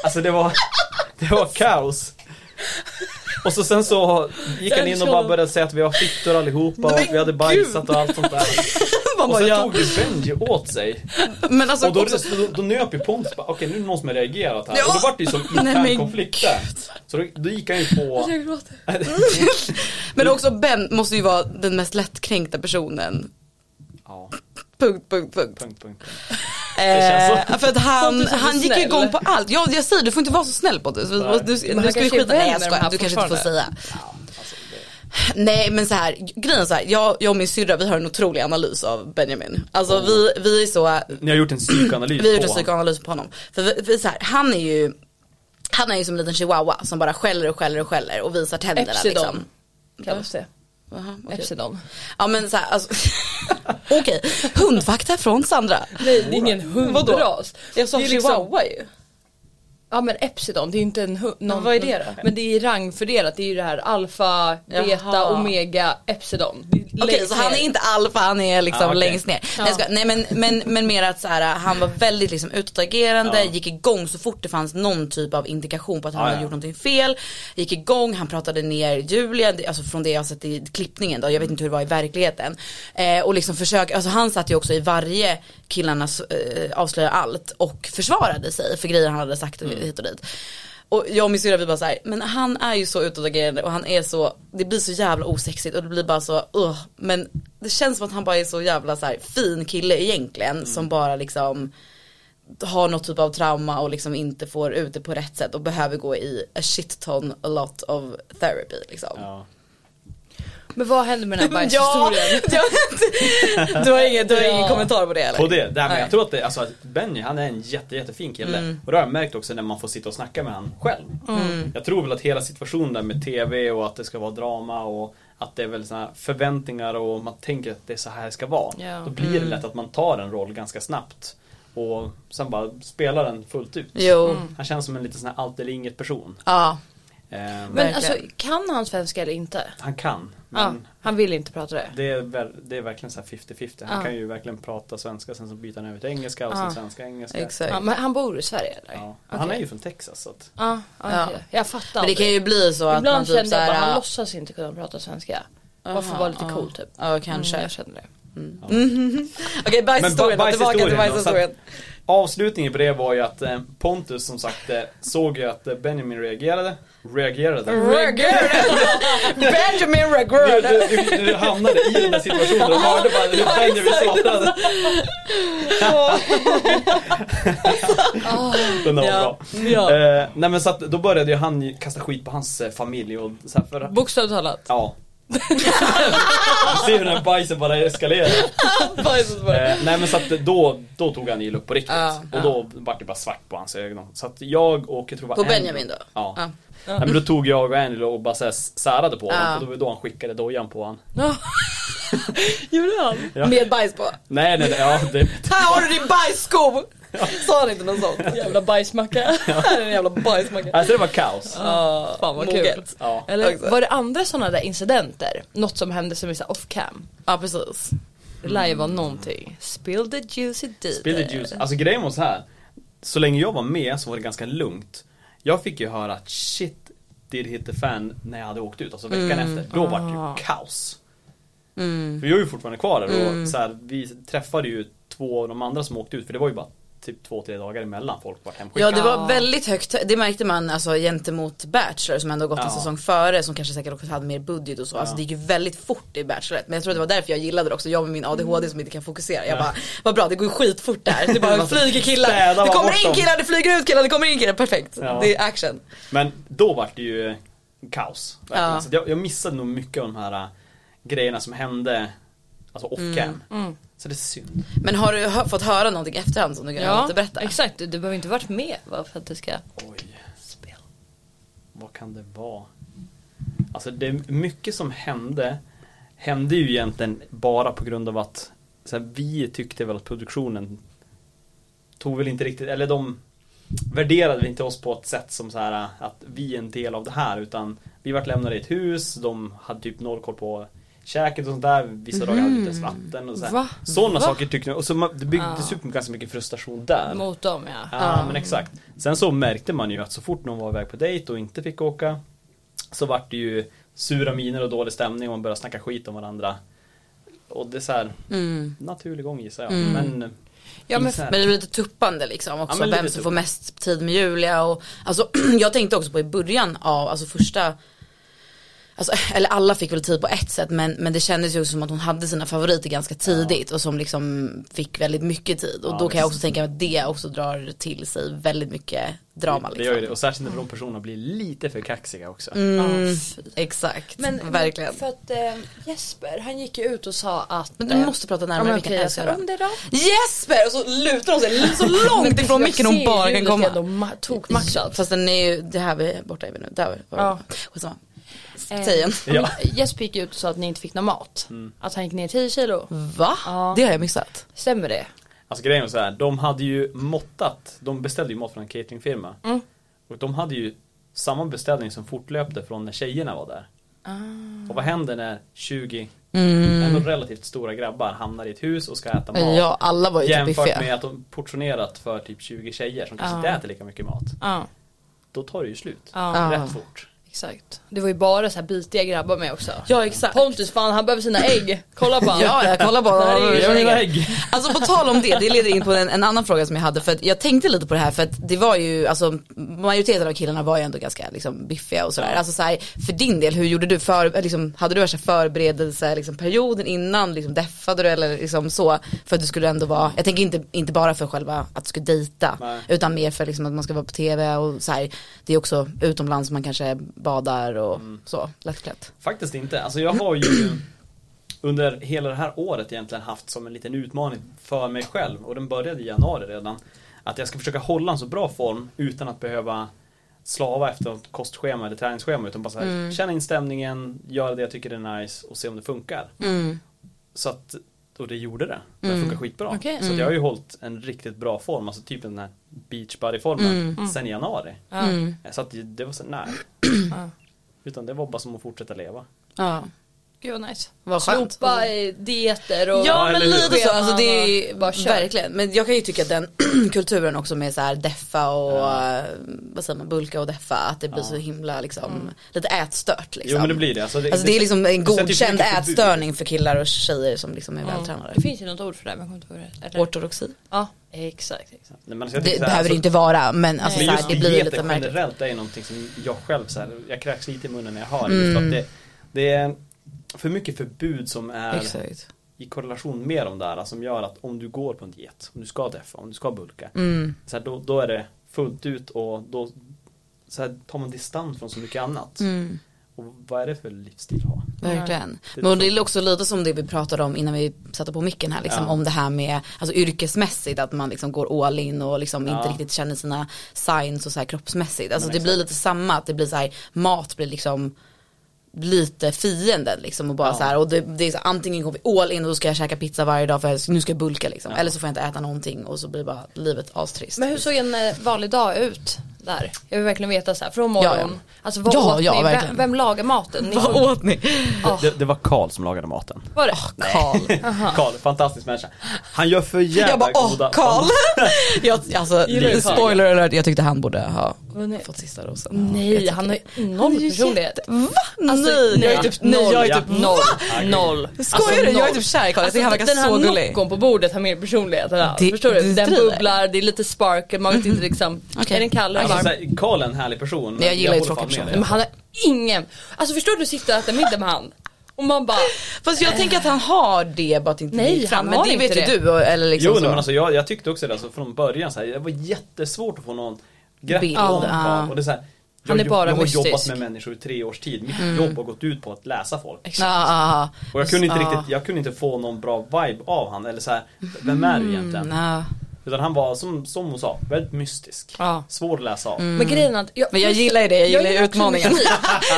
Alltså det var, det var kaos. Och så sen så gick han in och bara började säga att vi var fittor allihopa och vi hade bajsat och allt sånt där. Man Och bara, sen ja. tog ju Benji åt sig. Men alltså, Och då, också, då, då nöp ju Pontus bara, okej nu är det någon som har reagerat här. Ja. Och då vart det ju som Nej, intern men konflikt där. Så då, då gick han ju på... Jag gråter. men också Ben måste ju vara den mest lättkränkta personen. ja, Punkt, punkt, punkt, punkt. punkt. punkt. känns Eh, så. för att han, Pontus är så han gick ju snäll. igång på allt. Ja, jag säger du får inte vara så snäll Pontus. Vi- Nej. Du, Men du, han du ska ju kanske skita är vän Nej jag med de skojar, här du kanske inte får säga. fortfarande. Ja, alltså, det, Nej men så här, grejen är så här, jag, jag och min syrra vi har en otrolig analys av Benjamin. Alltså vi, vi är så, ni har gjort en psykoanalys vi har gjort en på honom. psykoanalys på honom. För vi, vi är så här, han är ju, han är ju som en liten chihuahua som bara skäller och skäller och skäller och visar tänderna Epsilon. liksom. Kallas det. Aha, okej. Epsilon. Ja men så här, alltså, okej, hundfakta från Sandra. Nej det är ingen hundras. Jag sa Det är liksom- chihuahua ju. Ja men epsilon, det är ju inte en hund. någon- vad är det då? Men det är rangfördelat, det är ju det här alfa, beta, Jaha. omega, epsilon. Det är Okej längst så han ner. är inte alfa, han är liksom Ah, okej. längst ner. Nej, jag skojar. Nej men, men, men mer att så här, han var väldigt liksom utåtagerande, Ja. gick igång så fort det fanns någon typ av indikation på att han Ja, hade ja. gjort någonting fel. Gick igång, han pratade ner Julia, det- alltså från det jag har sett i klippningen då, jag vet inte hur det var i verkligheten. Eh, och liksom försökte, alltså han satt ju också i varje killarnas eh, avslöja allt och försvarade sig för grejer han hade sagt Mm. hit och dit. Och jag och min syrra vi bara såhär, men han är ju så utåtagerande och han är så, det blir så jävla osexigt och det blir bara så, uh, men det känns som att han bara är så jävla så här, fin kille egentligen Mm. som bara liksom har något typ av trauma och liksom inte får ut det på rätt sätt och behöver gå i a shit ton a lot of therapy liksom. Ja. Men vad hände med den här Ja, bajshistorien? du har ingen, du har ingen Ja. kommentar på det eller? På det, det här, men Nej. jag tror att det, alltså att Benny han är en jätte, jättefin kille. Mm. Och det har jag märkt också när man får sitta och snacka med han själv. Jag tror väl att hela situationen där med TV och att det ska vara drama och att det är väl såna här förväntningar och man tänker att det är så här det ska vara. Ja. Mm. Då blir det lätt att man tar en roll ganska snabbt och sen bara spelar den fullt ut. Jo, Han känns som en lite sån här allt eller inget person. ja. Eh, Men alltså Verkligen. kan han svenska eller inte? Mm. han kan. Ja, Men han vill inte prata det. det, är väl, det är verkligen så här 50-50. Han Ja. kan ju verkligen prata svenska sen så byter han över till engelska och sen Ja. svenska, engelska. exakt. Ja, men han bor i Sverige eller? Ja. Okej. Han är ju från Texas så att Ja, okej. Ja. jag fattar Men det aldrig. kan ju bli så att Ibland man typ kände jag bara, såhär, han låtsas inte kunna prata svenska. Bara för att vara lite cool typ. Ja kanske. Mm, jag känner det. Okej bajshistorien då, tillbaka till bajshistorien då, så bajshistorien. att Avslutningen på det var ju att eh, Pontus som sagt eh, såg ju att eh, Benjamin reagerade, reagerade. Benjamin Du, Regrud. du, du, du hamnade i den där situationen och hörde bara hur Benjamin svarade. Den där var bra. Ja. Eh, nej men så att då började ju han ju kasta skit på hans eh, familj och så här för, Bokstavligt talat. ja. Du ser hur den här bajsen bara eskalerar. Bajshistorien. Eh, nej men så att då, då tog han illa upp på riktigt. Ja, och ja. då vart det bara svart på hans ögon. Så att jag och jag tror det var På Angelo- Benjamin då? Ja. Ja. Nej, men då tog jag och Angelo och bara så här särade på honom. Ja. Och då var det då han skickade dojan på honom. Gjorde han? Ja. Med bajs på. Nej nej nej, ja, det, Här har du din bajssko! Sa han inte något sånt? Jävla bajsmacka. Här är en jävla bajsmacka. alltså det var kaos. Ja, Fan vad kul. moget. Ja. Eller Exakt. var det andra sådana där incidenter? Något som hände som är så här off cam? Ja precis. Det lär ju vara någonting. Spill the juicy detail. Spill the juice. Alltså grejen var så här. Så länge jag var med så var det ganska lugnt. Jag fick ju höra att shit did hit the fan när jag hade åkt ut, alltså veckan Mm. efter. Då var det Ah. ju kaos. För jag är ju fortfarande kvar där och Mm. så här, vi träffade ju två av de andra som åkte ut för det var ju bara typ två, tre dagar emellan folk var hemskickade. Ja det var väldigt högt, det märkte man alltså gentemot Bachelor som ändå gått Ja. en säsong före som kanske säkert också hade mer budget och så. Alltså det gick ju väldigt fort i Bachelor men jag tror det var därför jag gillade det också, jag med min Mm. ADHD som inte kan fokusera. Jag bara, vad bra det går ju skitfort där. Det bara flyger Städa killar, bara det bort kommer in dem. killar, det flyger ut killar, det kommer in killar, perfekt. Ja. Det är action. Men då var det ju kaos. verkligen. Ja. Så att jag, jag missade nog mycket av de här äh, grejerna som hände, alltså Mm. off cam. Så det är synd. Men har du hö- fått höra någonting efterhand som du kan Ja, återberätta? exakt. Du, du behöver inte varit med va, för att du ska Oj. spela. Vad kan det vara? Alltså det är mycket som hände Hände ju egentligen bara på grund av att så här, Vi tyckte väl att produktionen Tog väl inte riktigt, eller de Värderade väl inte oss på ett sätt som så här att vi är en del av det här utan Vi vart lämnade i ett hus, de hade typ noll koll på Käket och sånt där, vissa dagar hade vi inte ens vatten och så här. Mm. Va? Sådana Va? saker tyckte jag, och så man- det byggdes Ja. upp ganska mycket frustration där Mot dem ja. Ja, men exakt. Sen så märkte man ju att så fort någon var iväg på dejt och inte fick åka så vart det ju sura miner och dålig stämning och man började snacka skit om varandra. Och det är så här, Mm. naturlig gång gissar jag. Men, Ja, men- så här- Men det blir lite tuppande liksom Ja, också men vem lite som tupp- får mest tid med Julia och alltså jag tänkte också på i början av, alltså första Alltså, eller alla fick väl tid på ett sätt men, men det kändes ju också som att hon hade sina favoriter ganska tidigt och som liksom fick väldigt mycket tid och Ja, då kan jag visst. också tänka mig att det också drar till sig väldigt mycket drama det gör ju det. liksom. Och särskilt när de personerna blir lite för kaxiga också. Mm, Ja, fy. exakt, Men verkligen. För att eh, Jesper, han gick ju ut och sa att Men du eh, måste prata Ja, närmare men micken, okej, jag älskar tar om du. det då. Jesper! Och så lutar hon sig så långt ifrån micken hon bara kan komma. Tokmatchat. Fast den är ju, det här vi, borta är vi nu, där var det. Ja. Eh. Skitsamma. Säg igen. Ja. Mm. Jesper gick ut och sa att ni inte fick någon mat. Att han gick ner 10 kilo. Va? Ja. Det har jag missat. Stämmer det? Alltså grejen var så här, de hade ju måttat, de beställde ju mat från en cateringfirma. Mm. Och de hade ju samma beställning som fortlöpte från när tjejerna var där. Ah. Och vad händer när 20 ändå relativt stora grabbar hamnar i ett hus och ska äta mat? Mm. Ja, alla var ju typ Jämfört biffiga. med att de portionerat för typ 20 tjejer som kanske inte äter lika mycket mat. Ja, Då tar det ju slut. Ja. Rätt fort. exakt. Det var ju bara så här bitiga grabbar med också. Ja exakt. Pontus fan han behöver sina ägg. Kolla på han. Ja, jag kollar bara. Där är ju Jag mina vet. ägg. Alltså på tal om det, det leder in på en, en annan fråga som jag hade. För att jag tänkte lite på det här för att det var ju, alltså majoriteten av killarna var ju ändå ganska liksom biffiga och sådär. Alltså så här, för din del, hur gjorde du? För, liksom, hade du värsta förberedelse liksom, perioden innan? Liksom, deffade du eller liksom så? För att du skulle ändå vara, jag tänker inte, inte bara för själva att du skulle dejta. Nej. Utan mer för liksom, att man ska vara på tv och så här. Det är också utomlands man kanske badar och så, lättklätt. Faktiskt inte. Alltså jag har ju under hela det här året egentligen haft som en liten utmaning för mig själv och den började i januari redan. Att jag ska försöka hålla en så bra form utan att behöva slava efter något kostschema eller träningsschema utan bara så här, känna in stämningen, göra det jag tycker är nice och se om det funkar. Så att, och det gjorde det. Det funkar skitbra. Okej. Så att jag har ju hållit en riktigt bra form, alltså typ den här beachbody-formen sen i januari. Mm. Så att det var så här, nej. Utan det var bara som att fortsätta leva. Ja. Gud vad nice. Vad skönt. Slopa eh, dieter och Ja Ja, men eller hur? lite så, alltså det är Bara kör. verkligen. Men jag kan ju tycka att den kulturen också med så här deffa och eh, vad säger man, bulka och deffa, att det blir så himla liksom, lite ätstört liksom. Jo, men det blir det. Alltså, det- Alltså det är liksom en det sätter ju godkänd mycket förbud. ätstörning för killar och tjejer som liksom är vältränade. Det finns ju något ord för det men jag kommer inte ihåg det. Eller- Ortodoxi. Ja exakt. exakt. Nej, men alltså, Det jag tycker så här, behöver alltså- det inte vara men alltså Men så här, just det blir ju dieter lite märkligt. generellt är någonting som jag själv så här, jag kräks lite i munnen när jag hör det. just Mm. för att det. Det är för mycket förbud som är Exakt. i korrelation med de där som gör att om du går på en diet, om du ska deffa, om du ska bulka. Mm. Så här, då, då är det fullt ut och då så här, tar man distans från så mycket annat. Mm. Och vad är det för livsstil att ha? Verkligen. Men det är också lite som det vi pratade om innan vi satte på micken här, liksom, Ja. om det här med alltså, yrkesmässigt, att man liksom går all in och liksom inte Ja. riktigt känner sina signs och så här kroppsmässigt. Alltså Men det blir exakt. lite samma, att det blir så här, mat blir liksom lite fienden liksom och bara Ja. så här och det, det är så, här, antingen går vi all in och då ska jag käka pizza varje dag för jag, nu ska jag bulka liksom. Ja. Eller så får jag inte äta någonting och så blir bara livet astrist. Men hur såg en eh, vanlig dag ut där? Jag vill verkligen veta så här, från Ja, ja. morgon. Alltså vad Ja, åt ja, ni? Vem, verkligen. vem lagar maten? Ni- Vad åt ni? Ja, Det, det var Karl som lagade maten. var det? Karl. Karl, fantastisk människa. Han gör för Jag jävla bara åh Karl. jag, alltså, Gillar du Karl? spoiler alert, jag tyckte han borde ha Vunnit. fått sista rosen. Nej han har ju noll personlighet. Va? Alltså, nej, nej, jag är typ, Ja. nej jag är Ja. typ Noll. Ja, gud. Noll. Skojar du? Alltså, Jag är noll. typ kär i Karl, jag tycker han den verkar här så gullig. nockon på bordet har mer personlighet än han. Det- Förstår det du? Den strider. bubblar, det är lite spark, man vet inte liksom. Okej. Är den kall eller Alltså, varm? så här, Karl är en härlig person. men jag gillar ju håller tråkiga fan med personer. dig. Men han har ingen, alltså förstår du sitta och äta middag med han? Och man bara, Fast jag tänker att han har det bara att inte Nej, gick fram. han Men har det inte vet ju det. du och- eller liksom Jo så. nej, men alltså jag, jag tyckte också det alltså, från början så här, det var jättesvårt att få någon grepp Bild, om ja. Karl. Och det är så här, jag, Han är bara jag har mystisk. jobbat med människor i tre års tid, mitt Mm. jobb har gått ut på att läsa folk. Ja, ja, Och jag kunde inte Ja. riktigt, jag kunde inte få någon bra vibe av han eller så här, vem är du ja. egentligen? Ja. Utan han var som, som hon sa, väldigt mystisk. Ja. Svår att läsa av. Mm. men grejen är att jag, Men jag gillar ju det, jag gillar ju också utmaningen. mystik.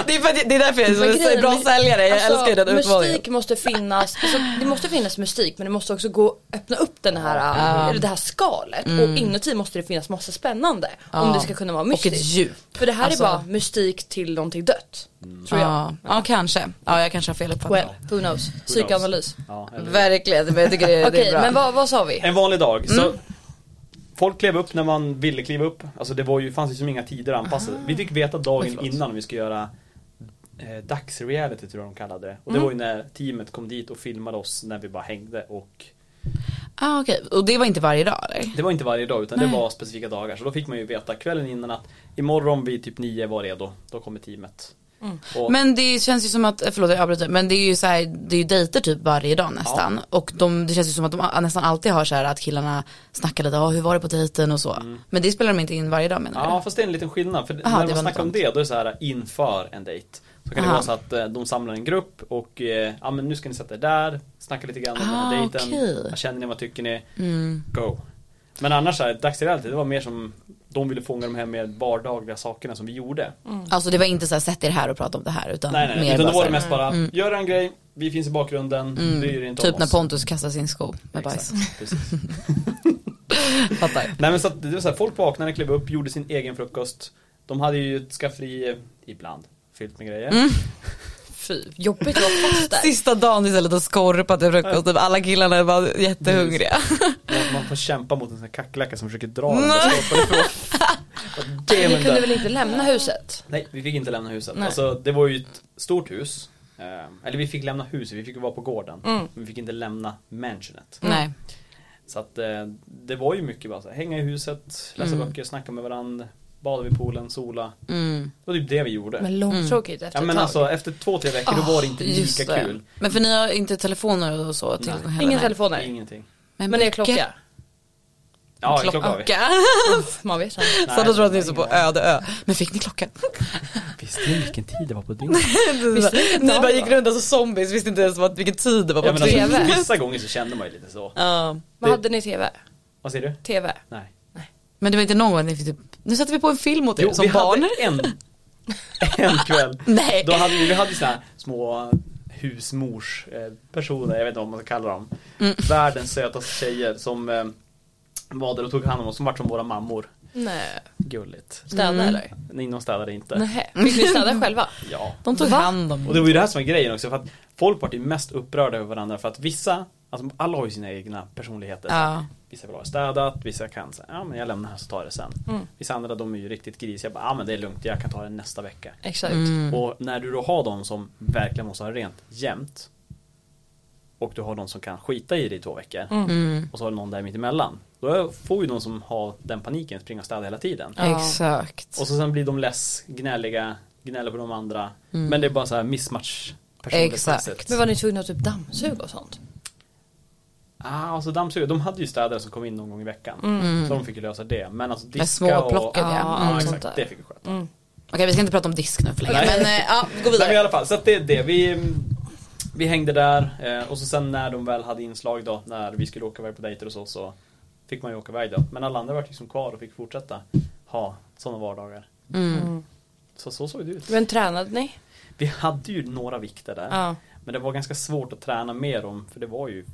det, är för att, jag- det är därför jag är så Men grejen en är- bra säljare, jag alltså, älskar ju den utmaningen. Mystik måste finnas, alltså, det måste finnas mystik men det måste också gå att öppna upp den här, eller det här skalet och inuti måste det finnas massa spännande om Mm. Ja. det ska kunna vara Och ett mystiskt. djup. För det här Alltså- Mm. är bara mystik till någonting dött. Tror jag. Ja, ja kanske. Ja jag kanske har fel uppfattning. Well, who knows. Psykoanalys. Ja, eller- Verkligen, men jag tycker det, det Okej är bra. men vad, vad sa vi? En vanlig dag. Så Folk klev upp när man ville kliva upp. Alltså det var ju, fanns ju som inga tider anpassade. Vi fick veta dagen innan vi skulle göra eh, dagsreality tror jag de kallade det. Och det var ju när teamet kom dit och filmade oss när vi bara hängde och ah, okej. Och det var inte varje dag eller? det var inte varje dag utan Nej. det var specifika dagar. Så då fick man ju veta kvällen innan att imorgon vid typ nio var redo. Då kommer teamet. Och, Men det känns ju som att, eh, förlåt jag avbryter, men det är ju så här, det är ju dejter typ varje dag nästan. Och de, det känns ju som att de a- nästan alltid har så här att killarna snackar lite, ja hur var det på dejten och så. Mm. Men det spelar de inte in varje dag menar Ja fast det är en liten skillnad för Aha, när man det var snackar om något det då är det så här äh, inför en dejt Så kan Aha. det vara så att eh, de samlar en grupp och eh, ja men nu ska ni sätta er där Snacka lite grann om den Ah, här dejten okej. Mm. Vad känner ni, vad tycker ni? Go Men annars så här, dagsreality det var mer som De ville fånga de här mer vardagliga sakerna som vi gjorde du? Alltså det var inte så här, sätt er här och prata om det här utan Nej nej, mer utan då bara var så det här, mm. mest bara Gör en grej, vi finns i bakgrunden, bryr er inte typ om när oss Pontus kastar sin sko med bajs. Exakt, precis. Fattar. Nej men så att det var så här, folk vaknade, klev upp, gjorde sin egen frukost De hade ju ett skafferi eh, ibland fyllt med grejer Fy, jobbigt att vara fast där. Sista dagen istället och skorpa till frukost, typ alla killarna var jättehungriga. Man, man får kämpa mot en sån här kackerlacka som försöker dra den där stolpen ifrån. Och det är Ni den kunde där. väl inte lämna huset? Nej, vi fick inte lämna huset. Alltså, det var ju ett stort hus. Eh, Eller vi fick lämna huset, vi fick ju vara på gården. Mm. Men vi fick inte lämna mansionet. Nej. Så att eh, det var ju mycket bara så här, hänga i huset, läsa böcker, snacka med varandra, bada vid poolen, sola. Mm. Det var typ det vi gjorde. Men långtråkigt efter ja ett men tag. alltså efter två, tre veckor då var det inte Ah, Just lika det. kul. Men för ni har inte telefoner och så till Nej. heller, Ingen nej. telefoner. Ingenting. Men det är klocka. Ja, klocka, har vi. Klocka. Man vet inte. Nej, Så då tror jag att ni är ingen så på aning. öde ö. Men fick ni klockan? Visste ni vilken tid det var på dygnet? ni bara gick runt som zombies, visste inte ens vad, vilken tid det var på Ja, men alltså, TV. vissa gånger så kände man ju lite så. Ja. Vad Det- hade ni i TV? Vad säger du? TV? Nej. Men det var inte någon gång ni fick typ, nu satte vi på en film åt er Jo, som vi barn. hade en, en kväll. Nej. Då hade vi, vi hade såna här små husmors eh, personer, jag vet inte vad man ska kalla dem. Världens sötaste tjejer som eh, var där och tog hand om oss, som vart som våra mammor. Nej. Gulligt. Städa eller? Nino städade inte. Nej. Fick ni Mm. städa själva? Ja. De tog Va? hand om Och det var ju det här som var grejen också för att folk var ju mest upprörda över varandra för att vissa, alltså alla har ju sina egna personligheter. Ja. Vissa vill ha städat, vissa kan säga ja men jag lämnar här så tar jag det sen. Vissa andra de är ju riktigt grisiga, bara, ja men det är lugnt, jag kan ta det nästa vecka. Exakt. Och när du då har de som verkligen måste ha rent jämt och du har de som kan skita i det i två veckor och så har du någon där mittemellan. Då får ju de som har den paniken springa och städa hela tiden. Exakt. Och så sen blir de less, gnälliga, gnäller på de andra. Men det är bara så här mismatch Exakt. personlighetsmässigt. Men var ni tvungna att typ dammsuga och sånt? Ah, alltså dammsugare, de hade ju städare som kom in någon gång i veckan. Mm. Så de fick ju lösa det. Men alltså diska och... småplocket, ja. ja, Mm, sånt exakt, där. Mm. det fick vi sköta. Okej vi ska inte prata om disk nu för länge. Nej. Men eh, ja, gå Nej, men i vidare. alla fall, så att det är det. Vi, mm, vi hängde där eh, och så sen när de väl hade inslag då, när vi skulle åka iväg på dejter och så, så fick man ju åka iväg då. Men alla andra var liksom kvar och fick fortsätta ha sådana vardagar. Mm. Så så såg det ut. Men tränade ni? Vi hade ju några vikter där. Ja. Men det var ganska svårt att träna mer om för det var ju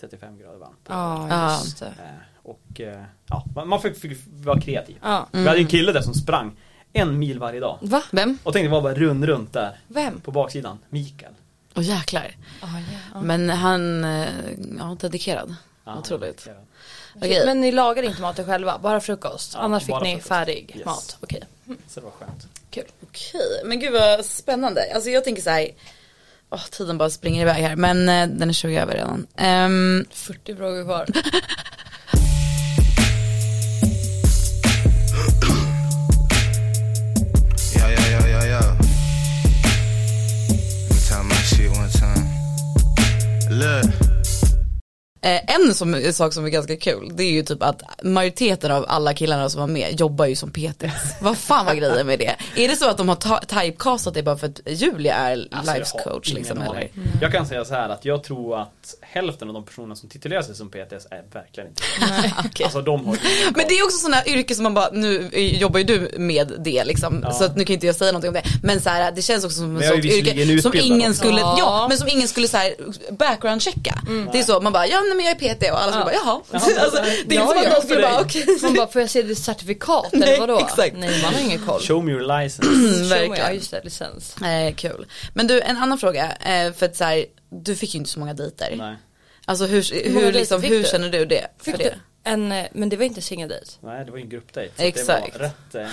30-35 grader varmt. Ja, just det. Eh, Och eh, ja, man, man fick, fick vara kreativ. Ja. Vi hade en kille där som sprang en mil varje dag. Va? Vem? Och tänkte vara bara rund runt där. Vem? På baksidan. Mikael. Åh jäklar. Ah, ja. Men han, eh, ja dedikerad. Ja, Otroligt. Mikael. Okej. Men ni lagade inte maten själva, bara frukost? Ja, Annars fick bara ni frukost. färdig Yes. mat? Okej, Så det var skönt. kul. Okej, men gud vad spännande. Alltså jag tänker så här, åh, tiden bara springer iväg här men eh, den är 20 över redan. Ehm, 40 frågor kvar. Yo, yo, yo, yo, yo. Let me tell my shit one time. Look. eh, en som, sak som är ganska kul det är ju typ att majoriteten av alla killarna som var med jobbar ju som PTs. vad fan var grejen med det? Är det så att de har ta- typecastat det bara för att Julia är Alltså, jag life har coach ingen liksom? aning. Eller? Jag kan säga så här att jag tror att hälften av de personer som titulerar sig som PTS är verkligen inte Okej. Alltså de har Men det är också sådana yrken som man bara, nu eh, jobbar ju du med det liksom, Ja. så att nu kan inte jag säga någonting om det. Men så här, det känns också som Men ett jag är sånt visserligen yrke som utbildad ingen också. skulle, ja. Ja. men som ingen skulle så här background checka. Mm. Det är så, man bara, ja nej, men jag är PT och alla skulle bara, jaha. alltså, det är Ja, inte som ja. att någon skulle För bara, dig. okej. Man bara, får jag se ditt certifikat Nej, eller vadå? exakt. Nej, Mm, man har ingen koll. Show me your license. Show me- verkligen. Ja, just det, licens. Eh, kul. Men du, en annan fråga, eh, för att så här, du fick ju inte så många dejter. Nej. Alltså hur, många hur, dejter liksom, fick hur du? känner du det? Fick för du det? en, eh, men det var inte singeldejt? Nej, det var ju en gruppdejt. så Exakt. Det var rätt, eh,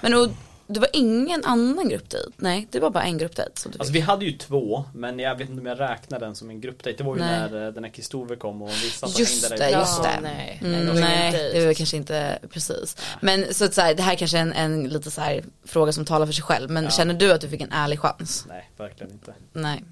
Men och, det var ingen annan gruppdejt? Nej, det var bara en gruppdejt som du fick. Alltså vi hade ju två, men jag vet inte om jag räknar den som en gruppdejt. Det var ju Nej. när eh, den här Kristove kom och vissa som Just hängde det, där. just Ja, det. nej, nej, Mm, det var nej, ingen dejt. det var kanske inte precis. Men så att så här, det här kanske är en, en lite så här fråga som talar för sig själv. Men känner du att du fick en ärlig chans? Nej, verkligen inte. Nej.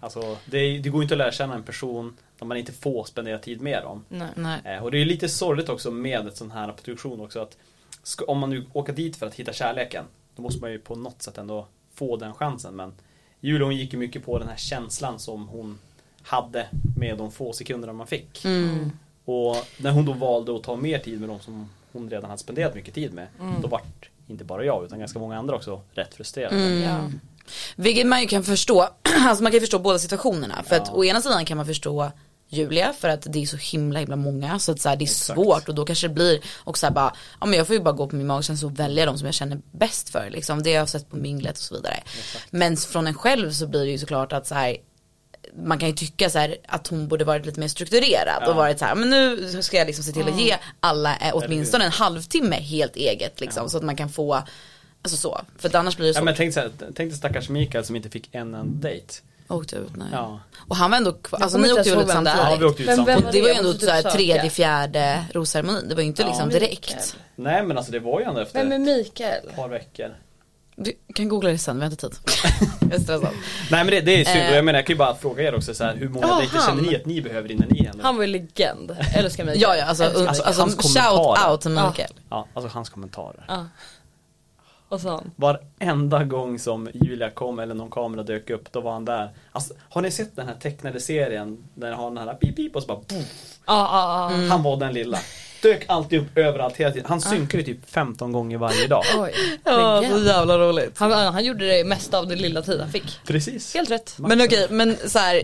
Alltså, det, det går ju inte att lära känna en person när man inte får spendera tid med dem. Nej. Nej. Eh, Och det är ju lite sorgligt också med ett sån här produktion också att ska, om man nu åker dit för att hitta kärleken då måste man ju på något sätt ändå få den chansen men Julia hon gick ju mycket på den här känslan som hon hade med de få sekunderna man fick. Mm. Och när hon då valde att ta mer tid med de som hon redan hade spenderat mycket tid med då vart inte bara jag utan ganska många andra också rätt frustrerade. Ja. Vilket man ju kan förstå, alltså man kan ju förstå båda situationerna. För att å ena sidan kan man förstå Julia för att det är så himla himla många så att så här, det är svårt och då kanske det blir och så här bara, ja men jag får ju bara gå på min magkänsla och välja de som jag känner bäst för liksom. Det har jag sett på minglet och så vidare. Men från en själv så blir det ju såklart att så här, man kan ju tycka så här att hon borde varit lite mer strukturerad och varit så här, men nu ska jag liksom se till att Mm. ge alla eh, åtminstone en halvtimme helt eget liksom så att man kan få, alltså så. För att annars blir det Ja, så men tänk, så här, tänk dig stackars Mikael som inte fick en enda dejt. Åkte ut, nej. Ja. Och han var ändå kvar, alltså kommer ni inte åkte ens väl ut ihåg vem det är. Ja, vi samtidigt? åkte ut Vem- vem samtidigt. Och det var ju ändå Jag måste så här typ söka. tredje, fjärde rosceremonin, det var ju inte liksom direkt. Nej men alltså det var ju ändå efter Vem är ett Mikael? par veckor. Du kan googla det sen, vi har inte tid. jag är stressad. Nej men det, det är synd Eh. och jag menar jag kan ju bara fråga er också så här, hur många Ja, dejter han. känner ni att ni behöver innan ni händer? Han var ju legend. Älskar Mikael. Ja, ja, alltså, Mikael. alltså, Hans shout kommentarer. out till Mikael. Ja, alltså hans kommentarer. Och så han. Varenda gång som Julia kom eller någon kamera dök upp då var han där. Alltså, har ni sett den här tecknade serien? Där han har den här pip pip och så bara poof. Ja, ja, ja. Han var den lilla. Dök alltid upp överallt hela tiden. Han synkade ju typ 15 gånger varje dag. Oj. Ja, så Legend. jävla roligt. Han, han gjorde det mesta av den lilla tid han fick. Precis. Helt rätt. Men okej, men så här.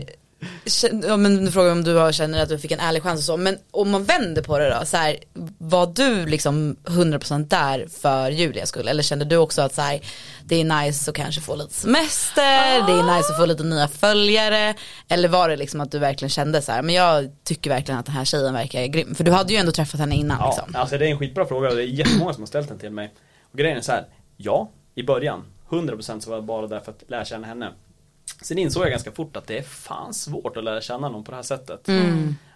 kän- Ja, men nu frågar jag om du har- känner att du fick en ärlig chans och så, men om man vänder på det då, så här, var du liksom 100% där för Julias skull? Eller kände du också att så här, det är nice att kanske få lite semester, det är nice att få lite nya följare? Eller var det liksom att du verkligen kände så här, men jag tycker verkligen att den här tjejen verkar grym? För du hade ju ändå träffat henne innan Ja, liksom. alltså det är en skitbra fråga och det är jättemånga som har ställt den till mig. Och grejen är så här, ja, i början, 100% så var jag bara där för att lära känna henne. Sen insåg jag ganska fort att det är fan svårt att lära känna någon på det här sättet.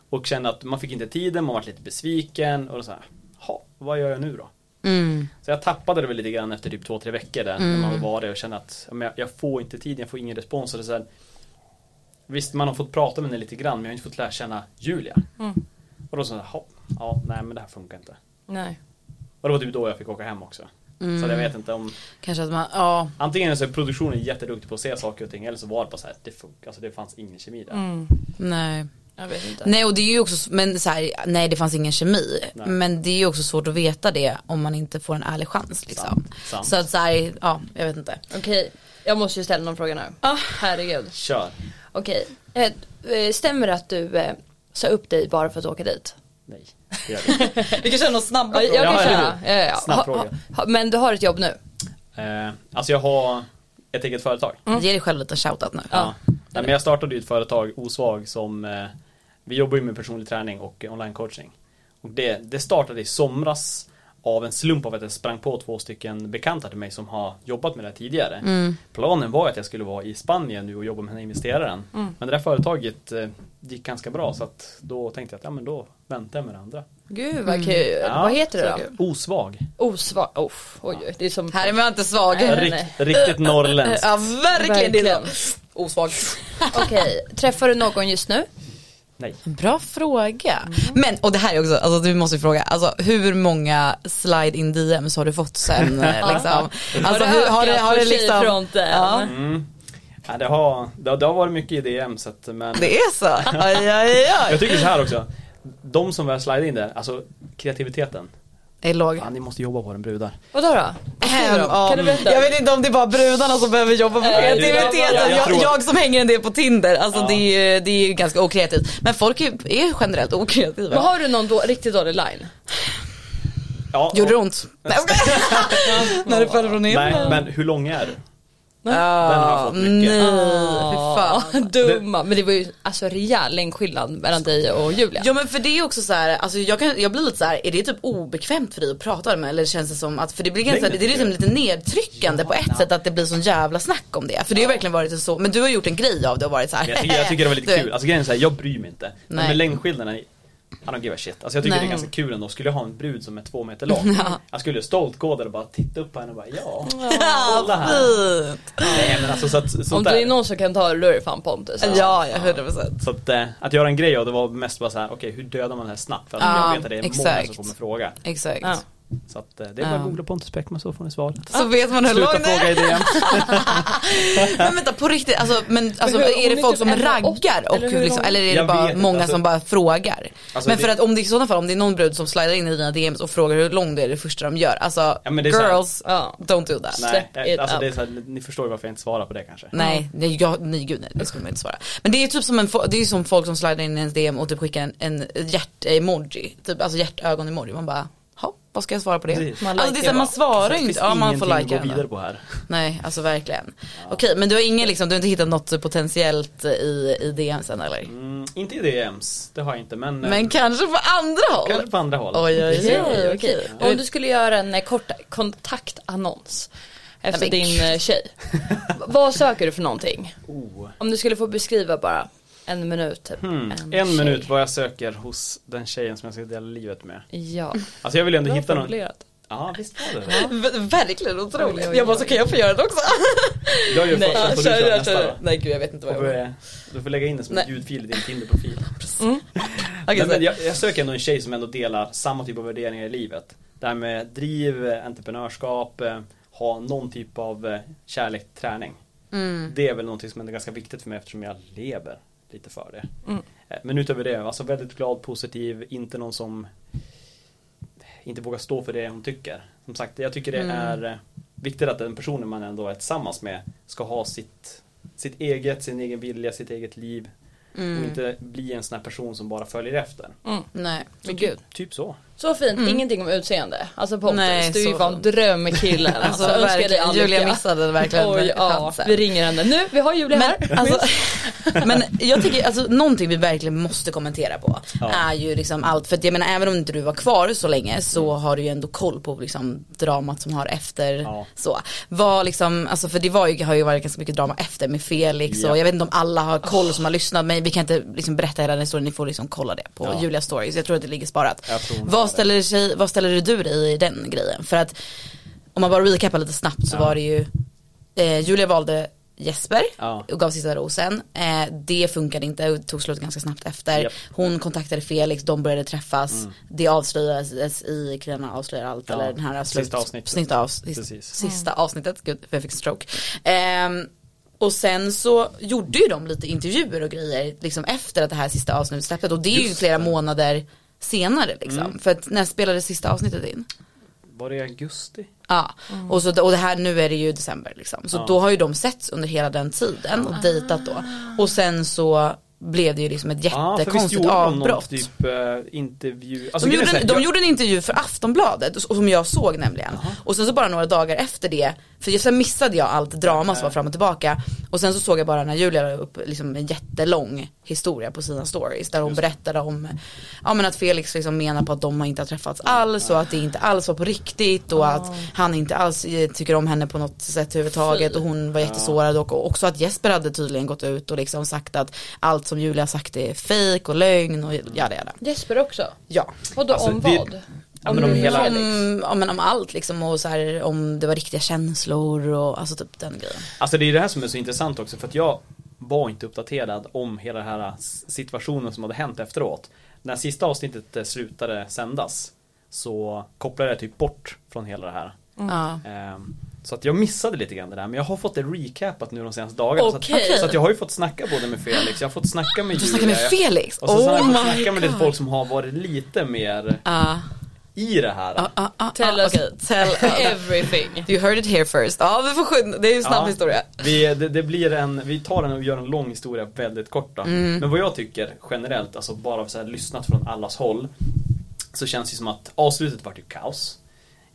Och kände att man fick inte tiden, man var lite besviken och så här, ha, vad gör jag nu då? Så jag tappade det väl lite grann efter typ två, tre veckor där när man var där och kände att ja, men jag, jag får inte tid, jag får ingen respons. Och det är så här, visst, man har fått prata med henne lite grann men jag har inte fått lära känna Julia. Och då så här, ha, ja, nej men det här funkar inte. Nej. Och det var typ då jag fick åka hem också. Så att jag vet inte om Kanske att man, ja. Antingen så är produktionen jätteduktig på att se saker och ting eller så var det bara så här, det funkar, alltså det fanns ingen kemi där. Nej. Jag vet inte. Nej och det är ju också, s- men så här, nej det fanns ingen kemi. Nej. Men det är ju också svårt att veta det om man inte får en ärlig chans liksom. Sant, sant. Så att så här, ja jag vet inte. Okej, jag måste ju ställa någon fråga nu. Herregud. Kör! Okej, Eh, eh, stämmer det att du eh, sa upp dig bara för att åka dit? Nej, det gör det inte. Vi kan köra något Ja, snabbare. jag kan Ja, eller köra. hur? Ja, ja, ja. Snabb Ha- fråga. ha- ha- Men du har ett jobb nu? eh, Alltså jag har ett eget företag. Ge dig själv lite shoutout nu. Ja. Nej, men jag startade ju ett företag, Osvag, som eh, vi jobbar ju med personlig träning och eh, online coaching. Och det, det startade i somras av en slump av att jag sprang på två stycken bekanta till mig som har jobbat med det här tidigare. Mm. Planen var att jag skulle vara i Spanien nu och jobba med den här investeraren. Mm. Men det där företaget eh, gick ganska bra så att då tänkte jag att ja, men då väntar jag med det andra. Gud vad kul. Ja, Mm. vad heter så det kul. då? Osvag. Osvar... Oh, oj, oj, det är som... Här är man inte svag. Nej, nej, Rikt, nej. riktigt norrländskt. Ja verkligen. det är Verkligen. så. Osvag. Okej, träffar du någon just nu? Nej. Bra fråga. Men, och det här är också, alltså du måste ju fråga, alltså hur många slide in DMs har du fått sen eh, liksom? Alltså hur, har det, har det liksom, Ja. Ja, det, har, det, har- det har varit mycket i DM så att, men det är så? Aj, aj, aj. Jag tycker så här också. De som väl slide in där, alltså kreativiteten. Det är låg. Fan, ni måste jobba på den brudar. Vadå då? Ehm, ja. Kan du berätta? Jag vet inte om det är bara brudarna som behöver jobba på kreativiteten. jag- Jag, jag tror- jag, som hänger en del på Tinder, alltså Ja. det, är, ju- det är ju ganska okreativt. Men folk är, är ju generellt okreativa. Men har du någon då, riktigt dålig line? Ja, Gjorde det och- ont? Nej, jag skojar. När du föll från Nej, himlen. men hur lång är du? Den har jag Ja, fått mycket. nej, fy fan. Dumma. Men det var ju alltså rejäl längdskillnad mellan dig och Julia. Ja men för det är också så här, alltså jag, kan, jag blir lite så här, är det typ obekvämt för dig att prata med eller känns det som att, för det blir ganska, Nej, det men- är liksom lite nedtryckande på ett sätt att det blir sån jävla snack om det. För det har verkligen varit en så, men du har gjort en grej av det och varit så här. "Äh, Men Jag tycker, jag tycker det var lite Du- kul. Alltså grejen är så här, jag bryr mig inte. Nej. Nej. Men längdskillnaden, i- I don't give a shit. Alltså jag tycker Nej. det är ganska kul ändå. Skulle jag ha en brud som är två meter lång. Jag skulle stolt gå där och bara titta upp på henne och bara ja, kolla Alltså, här. Fint. Nej men alltså så att, sånt Om där. det är någon som kan ta det, då är det fan Pontus. alltså. Ja, ja, 100 procent. Så att, eh, att göra en grej av det var mest bara så här, okej hur dödar man det här snabbt? För att Ja, jag vet att det är många som exakt. kommer fråga. Exakt. Ja. Så att eh, det är bara Ja. att googla Pontus Bäckman så får ni svar. Så vet man hur lång Sluta det fråga i är. DM. Men vänta på riktigt, alltså, men, alltså, hur- är hon det är folk typ som 1,80, raggar? Och, eller eller, hur liksom, lång- eller är det Jag bara vet inte, många alltså- som bara frågar? Alltså, men för det- att om det i sådana fall, om det är någon brud som slidar in i dina DMs och frågar hur lång du är det första de gör. Alltså Ja, men det är så här- girls, Ja. don't do that. Nej, Step jag- it alltså up. det är så här, ni förstår ju varför jag inte svarar på det kanske. Nej, nej, jag, nej gud nej, det skulle man inte svara. Men det är ju typ som en, fo- det är ju som folk som slidar in i ens DM och typ skickar en, en hjärt-emoji, typ, alltså hjärtögon-emoji. Man bara, ja, vad ska jag svara på det? Precis. Man alltså det är så likar här, man bara. svarar Det ju finns inte, ja man får ingenting likea att gå den. vidare på här. Nej, alltså verkligen. Okej, men du har ingen liksom, du har inte hittat något potentiellt i, i DM sen eller? Mm, inte i DMs, det har jag inte men, eh, Men kanske på andra håll? kanske på andra håll. Oj, oj, Okej, oj. okej. okej. Om du skulle göra en eh, kort kontaktannons efter Nej, men din eh, tjej. v- vad söker du för någonting? Oh. Om du skulle få beskriva bara en minut. Typ. Hmm, En, tjej. minut vad jag söker hos den tjejen som jag ska dela livet med. Ja, Alltså jag vill ändå bra hitta någon. formulerat. Ja visst var det det. V- Verkligen otroligt. Oj, oj, Jag bara, så oj. kan jag få göra det också? Jag gör först så får du kör, köra kör, nästa kör. då. Nej gud jag vet inte vad Och jag vi- gör. Du, får lägga in det som Nej. en ljudfil i din Tinder-profil. Okej, Nej, men så- jag, jag söker ändå en tjej som ändå delar samma typ av värderingar i livet. Det här med driv, eh, entreprenörskap, eh, ha någon typ av eh, kärlek, till träning. Mm. Det är väl någonting som ändå är ganska viktigt för mig eftersom jag lever lite för det. Eh, Men utöver det, alltså väldigt glad, positiv, inte någon som eh, inte vågar stå för det hon tycker. Som sagt, jag tycker Mm. det är eh, viktigt att den personen man ändå är tillsammans med ska ha sitt, sitt eget, sin egen vilja, sitt eget Mm. liv. Och inte bli en sån här person som bara följer efter. Nej. Men gud. Typ så. Så fint, ingenting om utseende. Alltså Pontus, Mm. Nej, du är ju så fan fint. drömkillen. Alltså, Alltså, önskar dig verkligen. all Julia lycka. missade verkligen Oj, ja. chansen. Vi ringer henne nu, vi har Julia här. Men, alltså, men jag tycker alltså någonting vi verkligen måste kommentera på Ja. är ju liksom allt, för att jag menar även om inte du var kvar så länge så Mm. har du ju ändå koll på liksom dramat som har efter Ja. så. Var liksom, alltså för det var ju, har ju varit ganska mycket drama efter med Felix Ja. och jag vet inte om alla har koll som har lyssnat men vi kan inte liksom berätta hela den historien, ni får liksom kolla det på Ja. Julias stories, jag tror att det ligger sparat. Jag tror hon har Vad det. ställer, sig, vad ställer du dig i den grejen? För att om man bara recapar lite snabbt så Ja. var det ju eh, Julia valde Jesper Ja. och gav sista rosen. Eh, det funkade inte och tog slut ganska snabbt efter. Japp. Mm. Hon kontaktade Felix, de började träffas. Det avslöjades i Kvinnorna avslöjar allt. Ja, Eller den här sista slut- avsnittet. Sista, av, sista, Precis. sista avsnittet, gud jag fick stroke. Ehm, och sen så gjorde ju de lite intervjuer och grejer liksom efter att det här sista avsnittet släpptes. Och det är ju Just flera det. Mm. månader senare liksom. För att när spelades sista avsnittet in? Var det i augusti? Ja, och, så, och det här, nu är det ju december liksom. Så Mm. Ja. då har ju de setts under hela den tiden och dejtat då. Och sen så blev det ju liksom ett Ah. för visst jättekonstigt gjorde de någon avbrott. typ eh, intervju? Alltså, grejen är De gjorde, så här, en, de jag- gjorde en intervju för Aftonbladet och- och som jag såg nämligen. Och sen så bara några dagar efter det, för sen missade jag allt drama som var fram och tillbaka. Och sen så såg jag bara när Julia la upp liksom en jättelång historia på sina stories där hon berättade om ja, men att Felix liksom menar på att de inte har träffats alls och att det inte alls var på riktigt och att han inte alls eh, tycker om henne på något sätt överhuvudtaget och hon var jättesårad och- och också att Jesper hade tydligen gått ut och liksom sagt att allt som Julia sagt är fejk och lögn och jada jada. Jesper också. Ja. Vadå Alltså, om det- vad? Ja, men om hela- Om, Mm, ja, men om allt liksom och så här, om det var riktiga känslor och alltså typ den grejen. Alltså det är det här som är så intressant också för att jag var inte uppdaterad om hela den här eh, s- situationen som hade hänt efteråt. När sista avsnittet eh, slutade sändas så kopplade jag typ bort från hela det här. Mm. Ja. Ehm, Så att jag missade lite grann det där men jag har fått det recapat nu de senaste dagarna. Så, Okej. att, så att jag har ju fått snacka både med Felix, jag har fått snacka med Du snackar med Julia, Felix? Och så, så har jag Oh fått my snacka med lite God. folk som har varit lite mer Ja. i det här. Ja, ja, ja, Tell ja, us okej. Tell us. everything. You heard it here first. Ja vi får skynda, det är ju en snabb Ja. historia. Vi, det, det blir en, vi tar den och gör en lång historia väldigt kort då. Mm. Men vad jag tycker generellt, alltså bara så här lyssnat från allas håll Så känns det som att avslutet vart ju kaos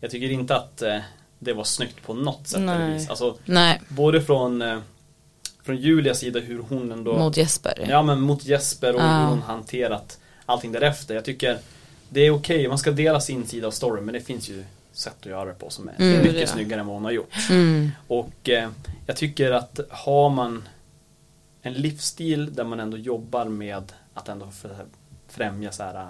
Jag tycker inte att eh, det var snyggt på något sätt eller Nej. vis. Alltså, Nej, både från, eh, från Julias sida hur hon ändå mot Jesper. Ja men mot Jesper och Ja. hur hon hanterat allting därefter. Jag tycker det är okej, man ska dela sin sida av storyn men det finns ju sätt att göra det på som är Mm. mycket Ja. snyggare än vad hon har gjort. Och eh, jag tycker att har man en livsstil där man ändå jobbar med att ändå fr- främja så här, eh,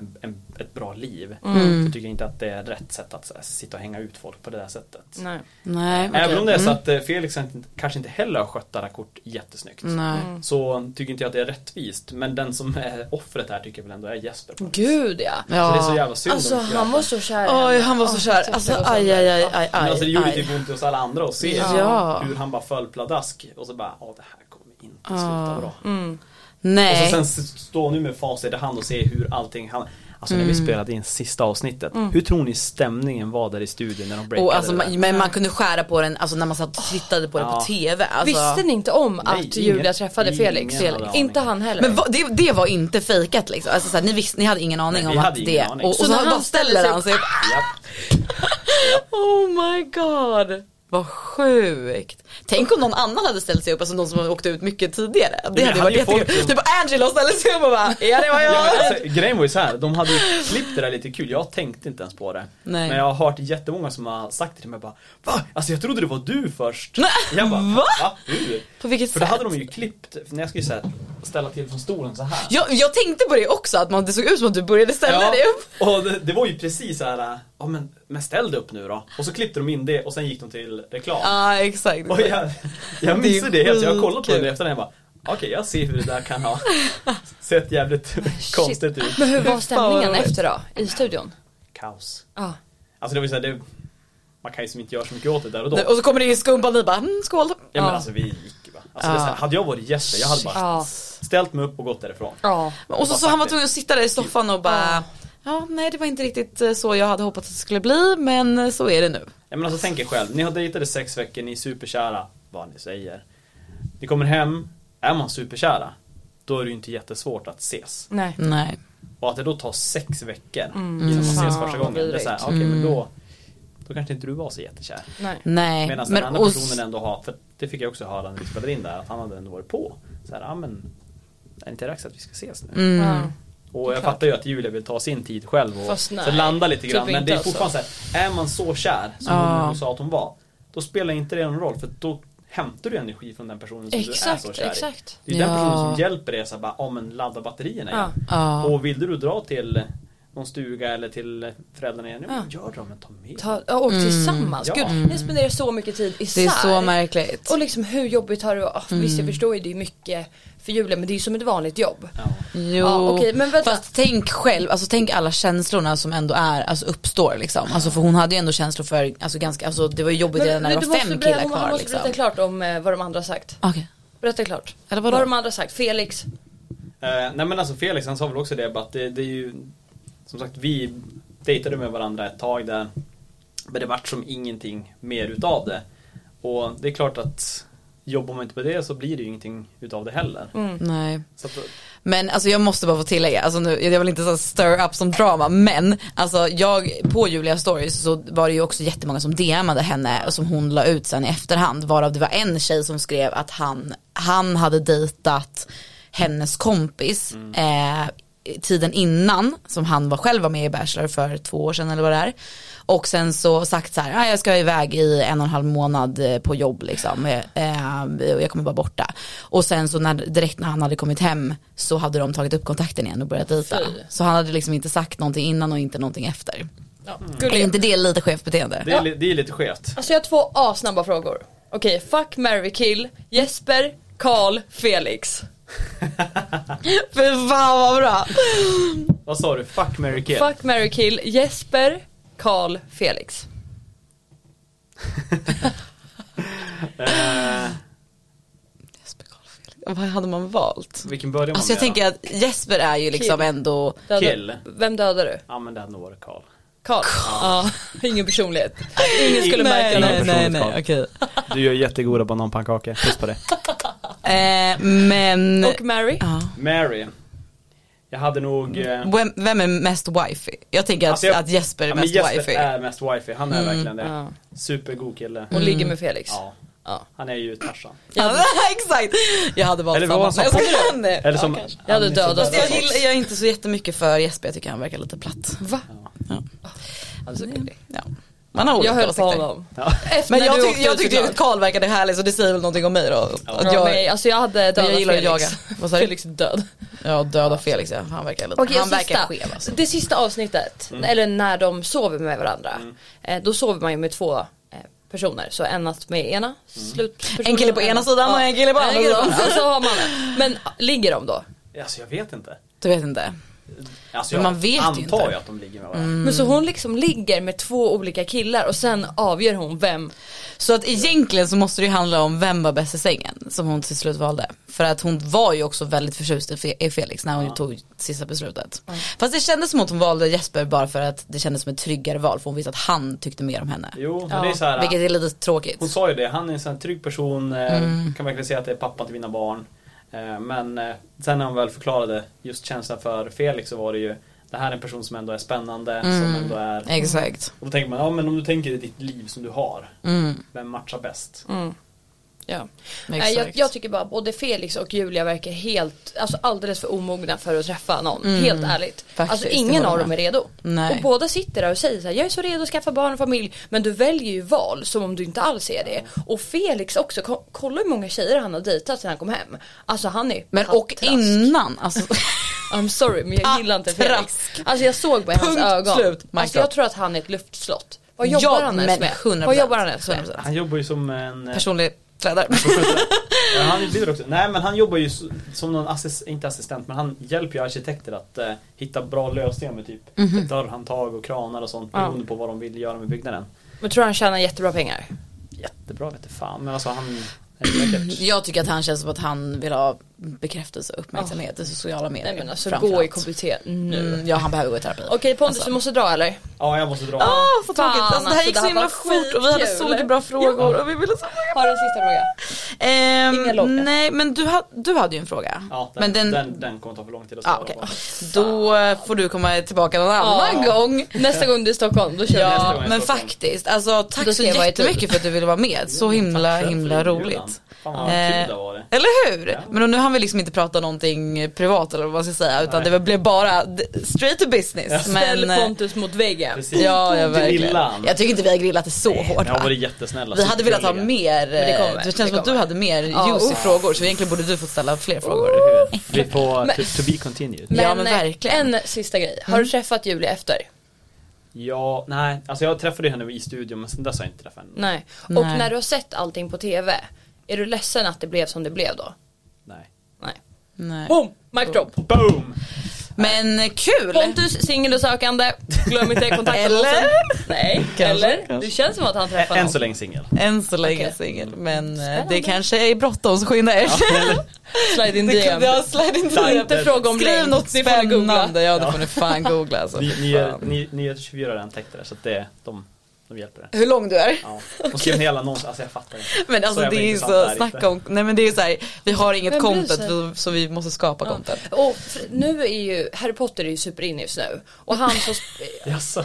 en, en, ett bra liv. Mm. Så tycker jag inte att det är rätt sätt att så här, sitta och hänga ut folk på det där sättet. Nej. Mm. Nej. Även om det är så att eh, Felix inte- kanske inte heller har skött alla kort jättesnyggt Mm. Nej. Mm. så tycker inte jag att det är rättvist. Men den som är offret här tycker jag väl ändå är Jesper. Så Gud ja. det är Ja. så jävla synd Alltså om grabben. han var så kär i Oj henne. han var så Åh, kär. jag Alltså tyckte det var så aj aj bra. aj aj Men alltså det aj. gjorde aj. typ ont hos alla andra att se Ja. hur han bara föll pladask och så bara, ja det här kommer inte sluta bra. Och så Mm. Nej. sen s- står nu med facit i hand och se hur allting han Alltså när Mm. vi spelade in sista avsnittet, hur tror ni stämningen var där i studion när de breakade Och alltså, det där? man, men man kunde skära på den, alltså när man satt och tittade på det på Ja. TV. Alltså. Visste ni inte om att ingen- Julia träffade ingen Felix? hade aning. Inte han heller. Men vad- det, det var inte fejkat liksom. Alltså, såhär, ni, visste, ni hade ingen aning Nej, vi om att hade ingen det. aning. Och, och Så så, när han bara ställde sig ställer han sig upp. Japp. Oh my god. Vad sjukt. Tänk om någon annan hade ställt sig upp, alltså någon som åkte ut mycket tidigare. Det det hade ju hade varit ju folk jättekul. som- Typ Angela ställde sig upp och bara, ja det var jag. Ja, men alltså, grejen var ju så här, de hade ju klippt det där lite kul, jag tänkte inte ens på det. Nej. Men jag har hört jättemånga som har sagt det till mig bara Va? Alltså jag trodde det var du först. jag bara, va? Hur? På vilket För då sätt? hade de ju klippt, för när jag skulle så här, ställa till från stolen så här. Jag, jag tänkte på det också, att man, det såg ut som att du började ställa dig upp. och det, det var ju precis så här, ja men, men ställ dig upp nu då. Och så klippte de in det och sen gick de till reklam. Ja exakt. Och jag, jag missade det helt, så jag har kollat på skitkul. det efter och jag bara Okej, jag ser hur det där kan ha sett jävligt konstigt ut. Men hur var Fan, stämningen vad efter då? I studion? Kaos. Ja. Alltså det var ju såhär, det- man kan ju som inte göra så mycket åt det där och då. Och så kommer det in skumpa ni bara, mm, skål. Ja men Ja. alltså vi gick ju bara. Alltså, det är så här, hade jag varit Jesper, jag hade bara Ja. ställt mig upp och gått därifrån. Ja. Och så, så han var tvungen att sitta där i soffan och bara, ja nej det var inte riktigt eh, så jag hade hoppats att det skulle bli, men eh, så är det nu. Ja, men alltså tänk er själv, ni har dejtat i sex veckor, ni är superkära, vad ni säger. Ni kommer hem, är man superkära, då är det ju inte jättesvårt att ses. Nej. Nej. Och att det då tar sex veckor innan man ses Fan, första gången. Det är så här, vidrigt. okej men då, då kanske inte du var så jättekär. Nej. Mm. Nej. Medan den men andra och- personen ändå har, för det fick jag också höra när vi spelade in där, att han hade ändå varit på. Så här, ah, men är det inte dags att vi ska ses nu? Ja. Och jag klart. fattar ju att Julia vill ta sin tid själv och Fast nej, så landa lite typ grann. men det är inte alltså. fortfarande så här, är man så kär som Ja. hon, hon sa att hon var, då spelar inte det någon roll för då hämtar du energi från den personen som du är så Exakt, kär i. exakt. Det är den Ja. personen som hjälper dig att bara, ja men ladda batterierna igen. Ja. Och vill du dra till någon stuga eller till föräldrarna igen, ja, men gör det men ta med Ta, ja, och tillsammans. Ja. Gud, ni spenderar så mycket tid isär. Mm. Det är så Mm. märkligt. Och liksom hur jobbigt har du, ah, visst jag förstår ju det är mycket för Julia men det är ju som ett vanligt jobb. Ja. Jo, Ja, okej, men vänta. fast tänk själv, alltså tänk alla känslorna som ändå är, alltså uppstår liksom. Alltså för hon hade ju ändå känslor för, alltså ganska, alltså det var ju jobbigt redan när det du var måste fem berätta- killar hon- Han kvar måste liksom. berätta klart om eh, vad de andra har sagt. Okej. Berätta klart. Eller vad vadå? har de andra sagt? Felix? Eh, nej men alltså Felix han sa väl också det bara att det, det är ju Som sagt vi dejtade med varandra ett tag där Men det vart som ingenting mer utav det Och det är klart att Jobbar man inte på det så blir det ju ingenting utav det heller Mm. Nej. så att, Men alltså jag måste bara få tillägga, alltså nu, jag vill inte så här stir up som drama men alltså jag, på Julia stories så var det ju också jättemånga som DMade henne och som hon la ut sen i efterhand varav det var en tjej som skrev att han, han hade dejtat hennes kompis eh, tiden innan som han var själv var med i Bachelor för två år sedan eller vad det är och sen så sagt så här, ah, jag ska iväg i en och en halv månad eh, på jobb liksom, eh, eh, och jag kommer vara borta. Och sen så när, direkt när han hade kommit hem så hade de tagit upp kontakten igen och börjat dejta. Fy. Så han hade liksom inte sagt någonting innan och inte någonting efter. Ja. Är Gulliga. inte det lite skevt beteende? det, är, li- det är lite skevt Alltså jag har två asnabba frågor. Okej, fuck, Mary kill, Jesper, Karl, Felix. Fy fan vad bra! Vad sa du? Fuck, marry, kill? Fuck, Mary kill, Jesper, Karl, Felix. Eh, Vad hade man valt? vilken börjar man Alltså jag med tänker att Jesper är ju liksom Kill. ändå, då? Döda- Kill? Vem dödar du? Ja men det hade nog varit Karl Karl? Ja, ingen personlighet. Ingen skulle märka Nej, något. nej, nej, nej, nej, okej Du gör jättegoda bananpannkakor, puss på det eh, men, Och Mary? ja. Mary Jag hade nog eh, vem, vem är mest wifey? Jag tänker att, Alltså jag- att Jesper är ja, men mest Mm. Jesper wifey. är mest wifey, han är verkligen det. ja. Supergod kille. Och ligger Mm. med Felix? Ja. Ja. Han är ju Tarzan. Ja, exakt. Jag hade valt Eller vad samma. var Nej, som- jag skojar. Nej. Eller som... Jag hade han är så dödat bra. Fast jag, gillar, jag är inte så jättemycket för Jesper, jag tycker han verkar lite platt. Va? Ja. Mm. Alltså, gullig. Ja. Man har olika jag höll på åsikter. honom. Ja. Efter Men när jag, du tyck, åkte jag ut tyckte ju såklart. att Karl verkade härlig så det säger väl någonting om mig då. Att Ja, jag, nej, alltså jag hade men dödat jag gillar att Felix. jaga. Vad sa du? Felix är död. Ja, döda Felix ja, han verkar lite, Okej, han och verkar sista. skev alltså. Det sista avsnittet, Mm. eller när de sover med varandra, eh, då sover man ju med två eh, personer. Så en natt med Mm. ena slutpersonen. En kille på ena sidan och en kille på Ja, en andra kille på sidan. andra. Så har man det. Men ah, ligger de då? Alltså jag vet inte. Du vet inte. Alltså Men jag man vet ju antar inte. Mm. ju att de ligger med varandra. Men så hon liksom ligger med två olika killar och sen avgör hon vem. Så att egentligen så måste det ju handla om vem var bäst i sängen som hon till slut valde. För att hon var ju också väldigt förtjust i Fe- i Felix när hon tog sista beslutet. Fast det kändes som att hon valde Jesper bara för att det kändes som ett tryggare val för hon visste att han tyckte mer om henne. Jo, men Ja, det är så här. Vilket är lite tråkigt. Hon sa ju det, han är en sån här trygg person, eh, Mm. kan verkligen säga att det är pappan till mina barn. Eh, Men eh, sen när hon väl förklarade just känslan för Felix så var det ju det här är en person som ändå är spännande, som Mm. ändå är... Mm. Exakt. Och då tänker man, ja men om du tänker i ditt liv som du har, Mm. vem matchar bäst? Ja. Nej, Exakt. jag, jag tycker bara både Felix och Julia verkar helt, alltså alldeles för omogna för att träffa någon. Helt ärligt. Mm. Faktiskt, alltså det ingen håller av jag dem är med. redo. Nej. Och båda sitter där och säger så här, jag är så redo att skaffa barn och familj. Men du väljer ju val som om du inte alls är det. Och Felix också, ko- kolla hur många tjejer han har dejtat sedan han kom hem. Alltså han är Men och pattrask. innan, alltså. I'm sorry men jag gillar inte Felix. Pattrask. Alltså jag såg på hans Punkt ögon. slut. My Alltså jag God. tror att han är ett luftslott. Vad Ja, jobbar han men ens med? 100%. Vad jobbar han ens med? 100%. Han jobbar ju som en... eh, personlig tränare. Ja, han bidrar också. Nej men han jobbar ju s- som någon assist, inte assistent, men han hjälper ju arkitekter att eh, hitta bra lösningar med typ Mhm. dörrhandtag och kranar och sånt beroende på vad de vill göra med byggnaden. Men tror du han tjänar jättebra pengar? Jättebra vet du fan men alltså han är säkert... Jag tycker att han känns som att han vill ha bekräftelse och uppmärksamhet i sociala medier. Nej men alltså framför gå i allt. KBT Mm, nu. ja han behöver gå i terapi. Okej Pontus Alltså. du måste dra eller? Ja, jag måste dra. Ah, vad Fan, tråkigt. Alltså, det här alltså, gick det så här himla var fort och vi hade så skitkul. mycket bra frågor och vi ville så Har du en sista fråga? Ehm, Inga långa. Nej men du, ha, du hade ju en fråga. Ja, den, men den... Den, kommer ta för lång tid att svara ah, okej. på. Då eh, får du komma tillbaka någon annan Ja. gång. Nästa gång du är i Stockholm då kör vi. nästa Ja gång jag men står fram. faktiskt, alltså tack Då så ska jag vara i tur. jättemycket för att du ville vara med. Så himla Tack själv himla för inbjudan. roligt. Fan vad kul Eh, det var det. Eller hur? Men nu har vi liksom inte pratat någonting privat eller vad man ska säga utan Nej. det blev bara d- straight to business. Ställ Men, eh, Pontus mot väggen. Precis. ja, ja verkligen. Grillan. Jag tycker inte vi har grillat det så Ni hårt har va? varit alltså. jättesnälla. Vi hade velat ha supergulliga. mer, eh, det kommer, det känns det som att kommer. du hade mer Ja, juicy uff. frågor så egentligen borde du fått ställa fler frågor. Vi får Men- to, to be continued. Ja, men eh, verkligen. Mm. en sista grej. Har du träffat Julia efter? Ja, nej. Alltså jag träffade henne i studion men sen dess har jag inte träffat Mm. henne. Nej. Och Nej. när du har sett allting på TV, är du ledsen att det blev som det blev då? Nej. Nej. Nej. Boom! Mic drop! Boom! Men eh, kul! Pontus, singel och sökande. Glöm inte kontaktannonsen. Eller? Nej, eller? Det känns som att han träffar Än någon. så länge singel. Än så länge Okej. singel men eh, Spännande. det kanske är bråttom så skynda er. Slide in DM. Ja, slide in Slide. DM. Inte fråga om Skriv länk. något Det får ni googla. spännande, ja det får ni fan googla alltså. Ni, för ni, är, fan. ni, ni är 24 redan täckte det så att det, de, de hjälper det. Hur lång du är. Ja. Och skrev en hel annons, alltså jag fattar inte. Men alltså jävla det är ju intressant det så, här snacka om, nej men det är ju såhär, vi har inget Vem bryr content sig? vi- så vi måste skapa content. Och f- nu är ju, Harry Potter är ju superinne just nu. Och han så, sp- Jaså?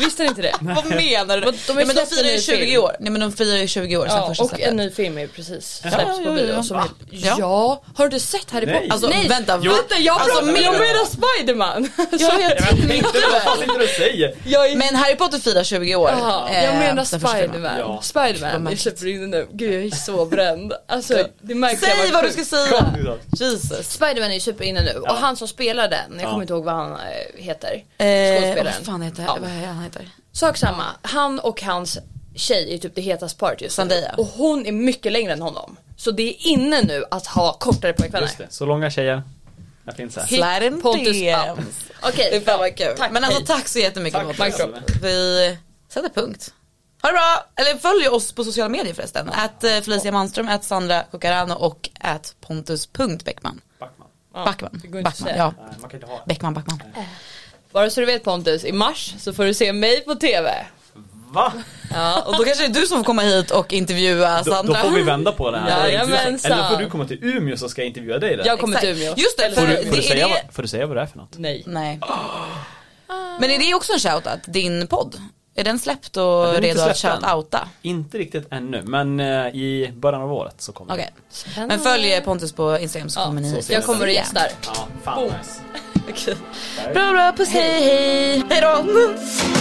visste ni inte det? Vad menar du? Men Men de de, har ju men de släppt en firar ny ju 20 film. år, nej men de firar ju 20 år sedan Ja, första och en släppet. ny film är precis Ja, släpps på ja, ja, bio. ja. Som Va? ja. har du sett Harry Nej. Potter? Alltså vänta, Jo. vänta jag Alltså, pratar men- Jag med menar Spiderman! Ja, jag Nej, men jag tänkte tänkte det, vad väl. fan inte du säger? Jag, är- Men Harry Potter firar 20 år. Jaha, eh, jag menar den första filmen. Spiderman. Ja. Spiderman, Vad jag märkligt. släpper in den nu. Gud jag är så bränd. Alltså det märks jag Säg var vad du sjuk. ska Kom säga. nu då. Jesus. Spiderman är ju superinne nu och han som spelar den, jag Ja. kommer inte ihåg vad han eh, heter, Eh, vad skådespelaren. fan heter Ja. vad är han heter? Sak samma, han och hans tjej är typ det hetaste paret just nu. Zendaya. Och hon är mycket längre än honom. Så det är inne nu att ha kortare pojkvänner. Just det, så långa tjejer. Jag finns här. Hit Slide in Pontus DMs. up. Okej, Det är fan vad kul. Tack, Men alltså hej. tack så jättemycket Tack, Pontus. själv. Vi sätter punkt. Ha det bra! Eller följ oss på sociala medier förresten. Att eh, Felicia Manström, att Sandra Cucarano och att Pontus.Beckman. Backman. Ja, Backman. det går inte att Backman, säga. ja. Nej, man kan inte ha Beckman, Backman. Bara så du vet Pontus, i mars så får du se mig på TV. Va? Alltså, Ja, och då kanske det är du som får komma hit och intervjua Då, då Sandra. får vi vända på det här. Jajamensan. Eller får du komma till Umeå så ska jag intervjua dig där. Jag kommer till Exakt. Umeå. Just det, Eller för Får så- du, får, du Det är säga det- vad, får du säga vad det är för något? Nej. Nej. Ah. Men är det också en shoutout, din podd? Är den släppt och den är inte redo att släppt än. shoutouta? Inte riktigt ännu, men eh, i början av året så kommer Okej. det. Men följ Pontus på Instagram så Ja, kommer ni jag kommer och gästar. Ja, fan nice. Bra bra, puss hej hej. Hej då.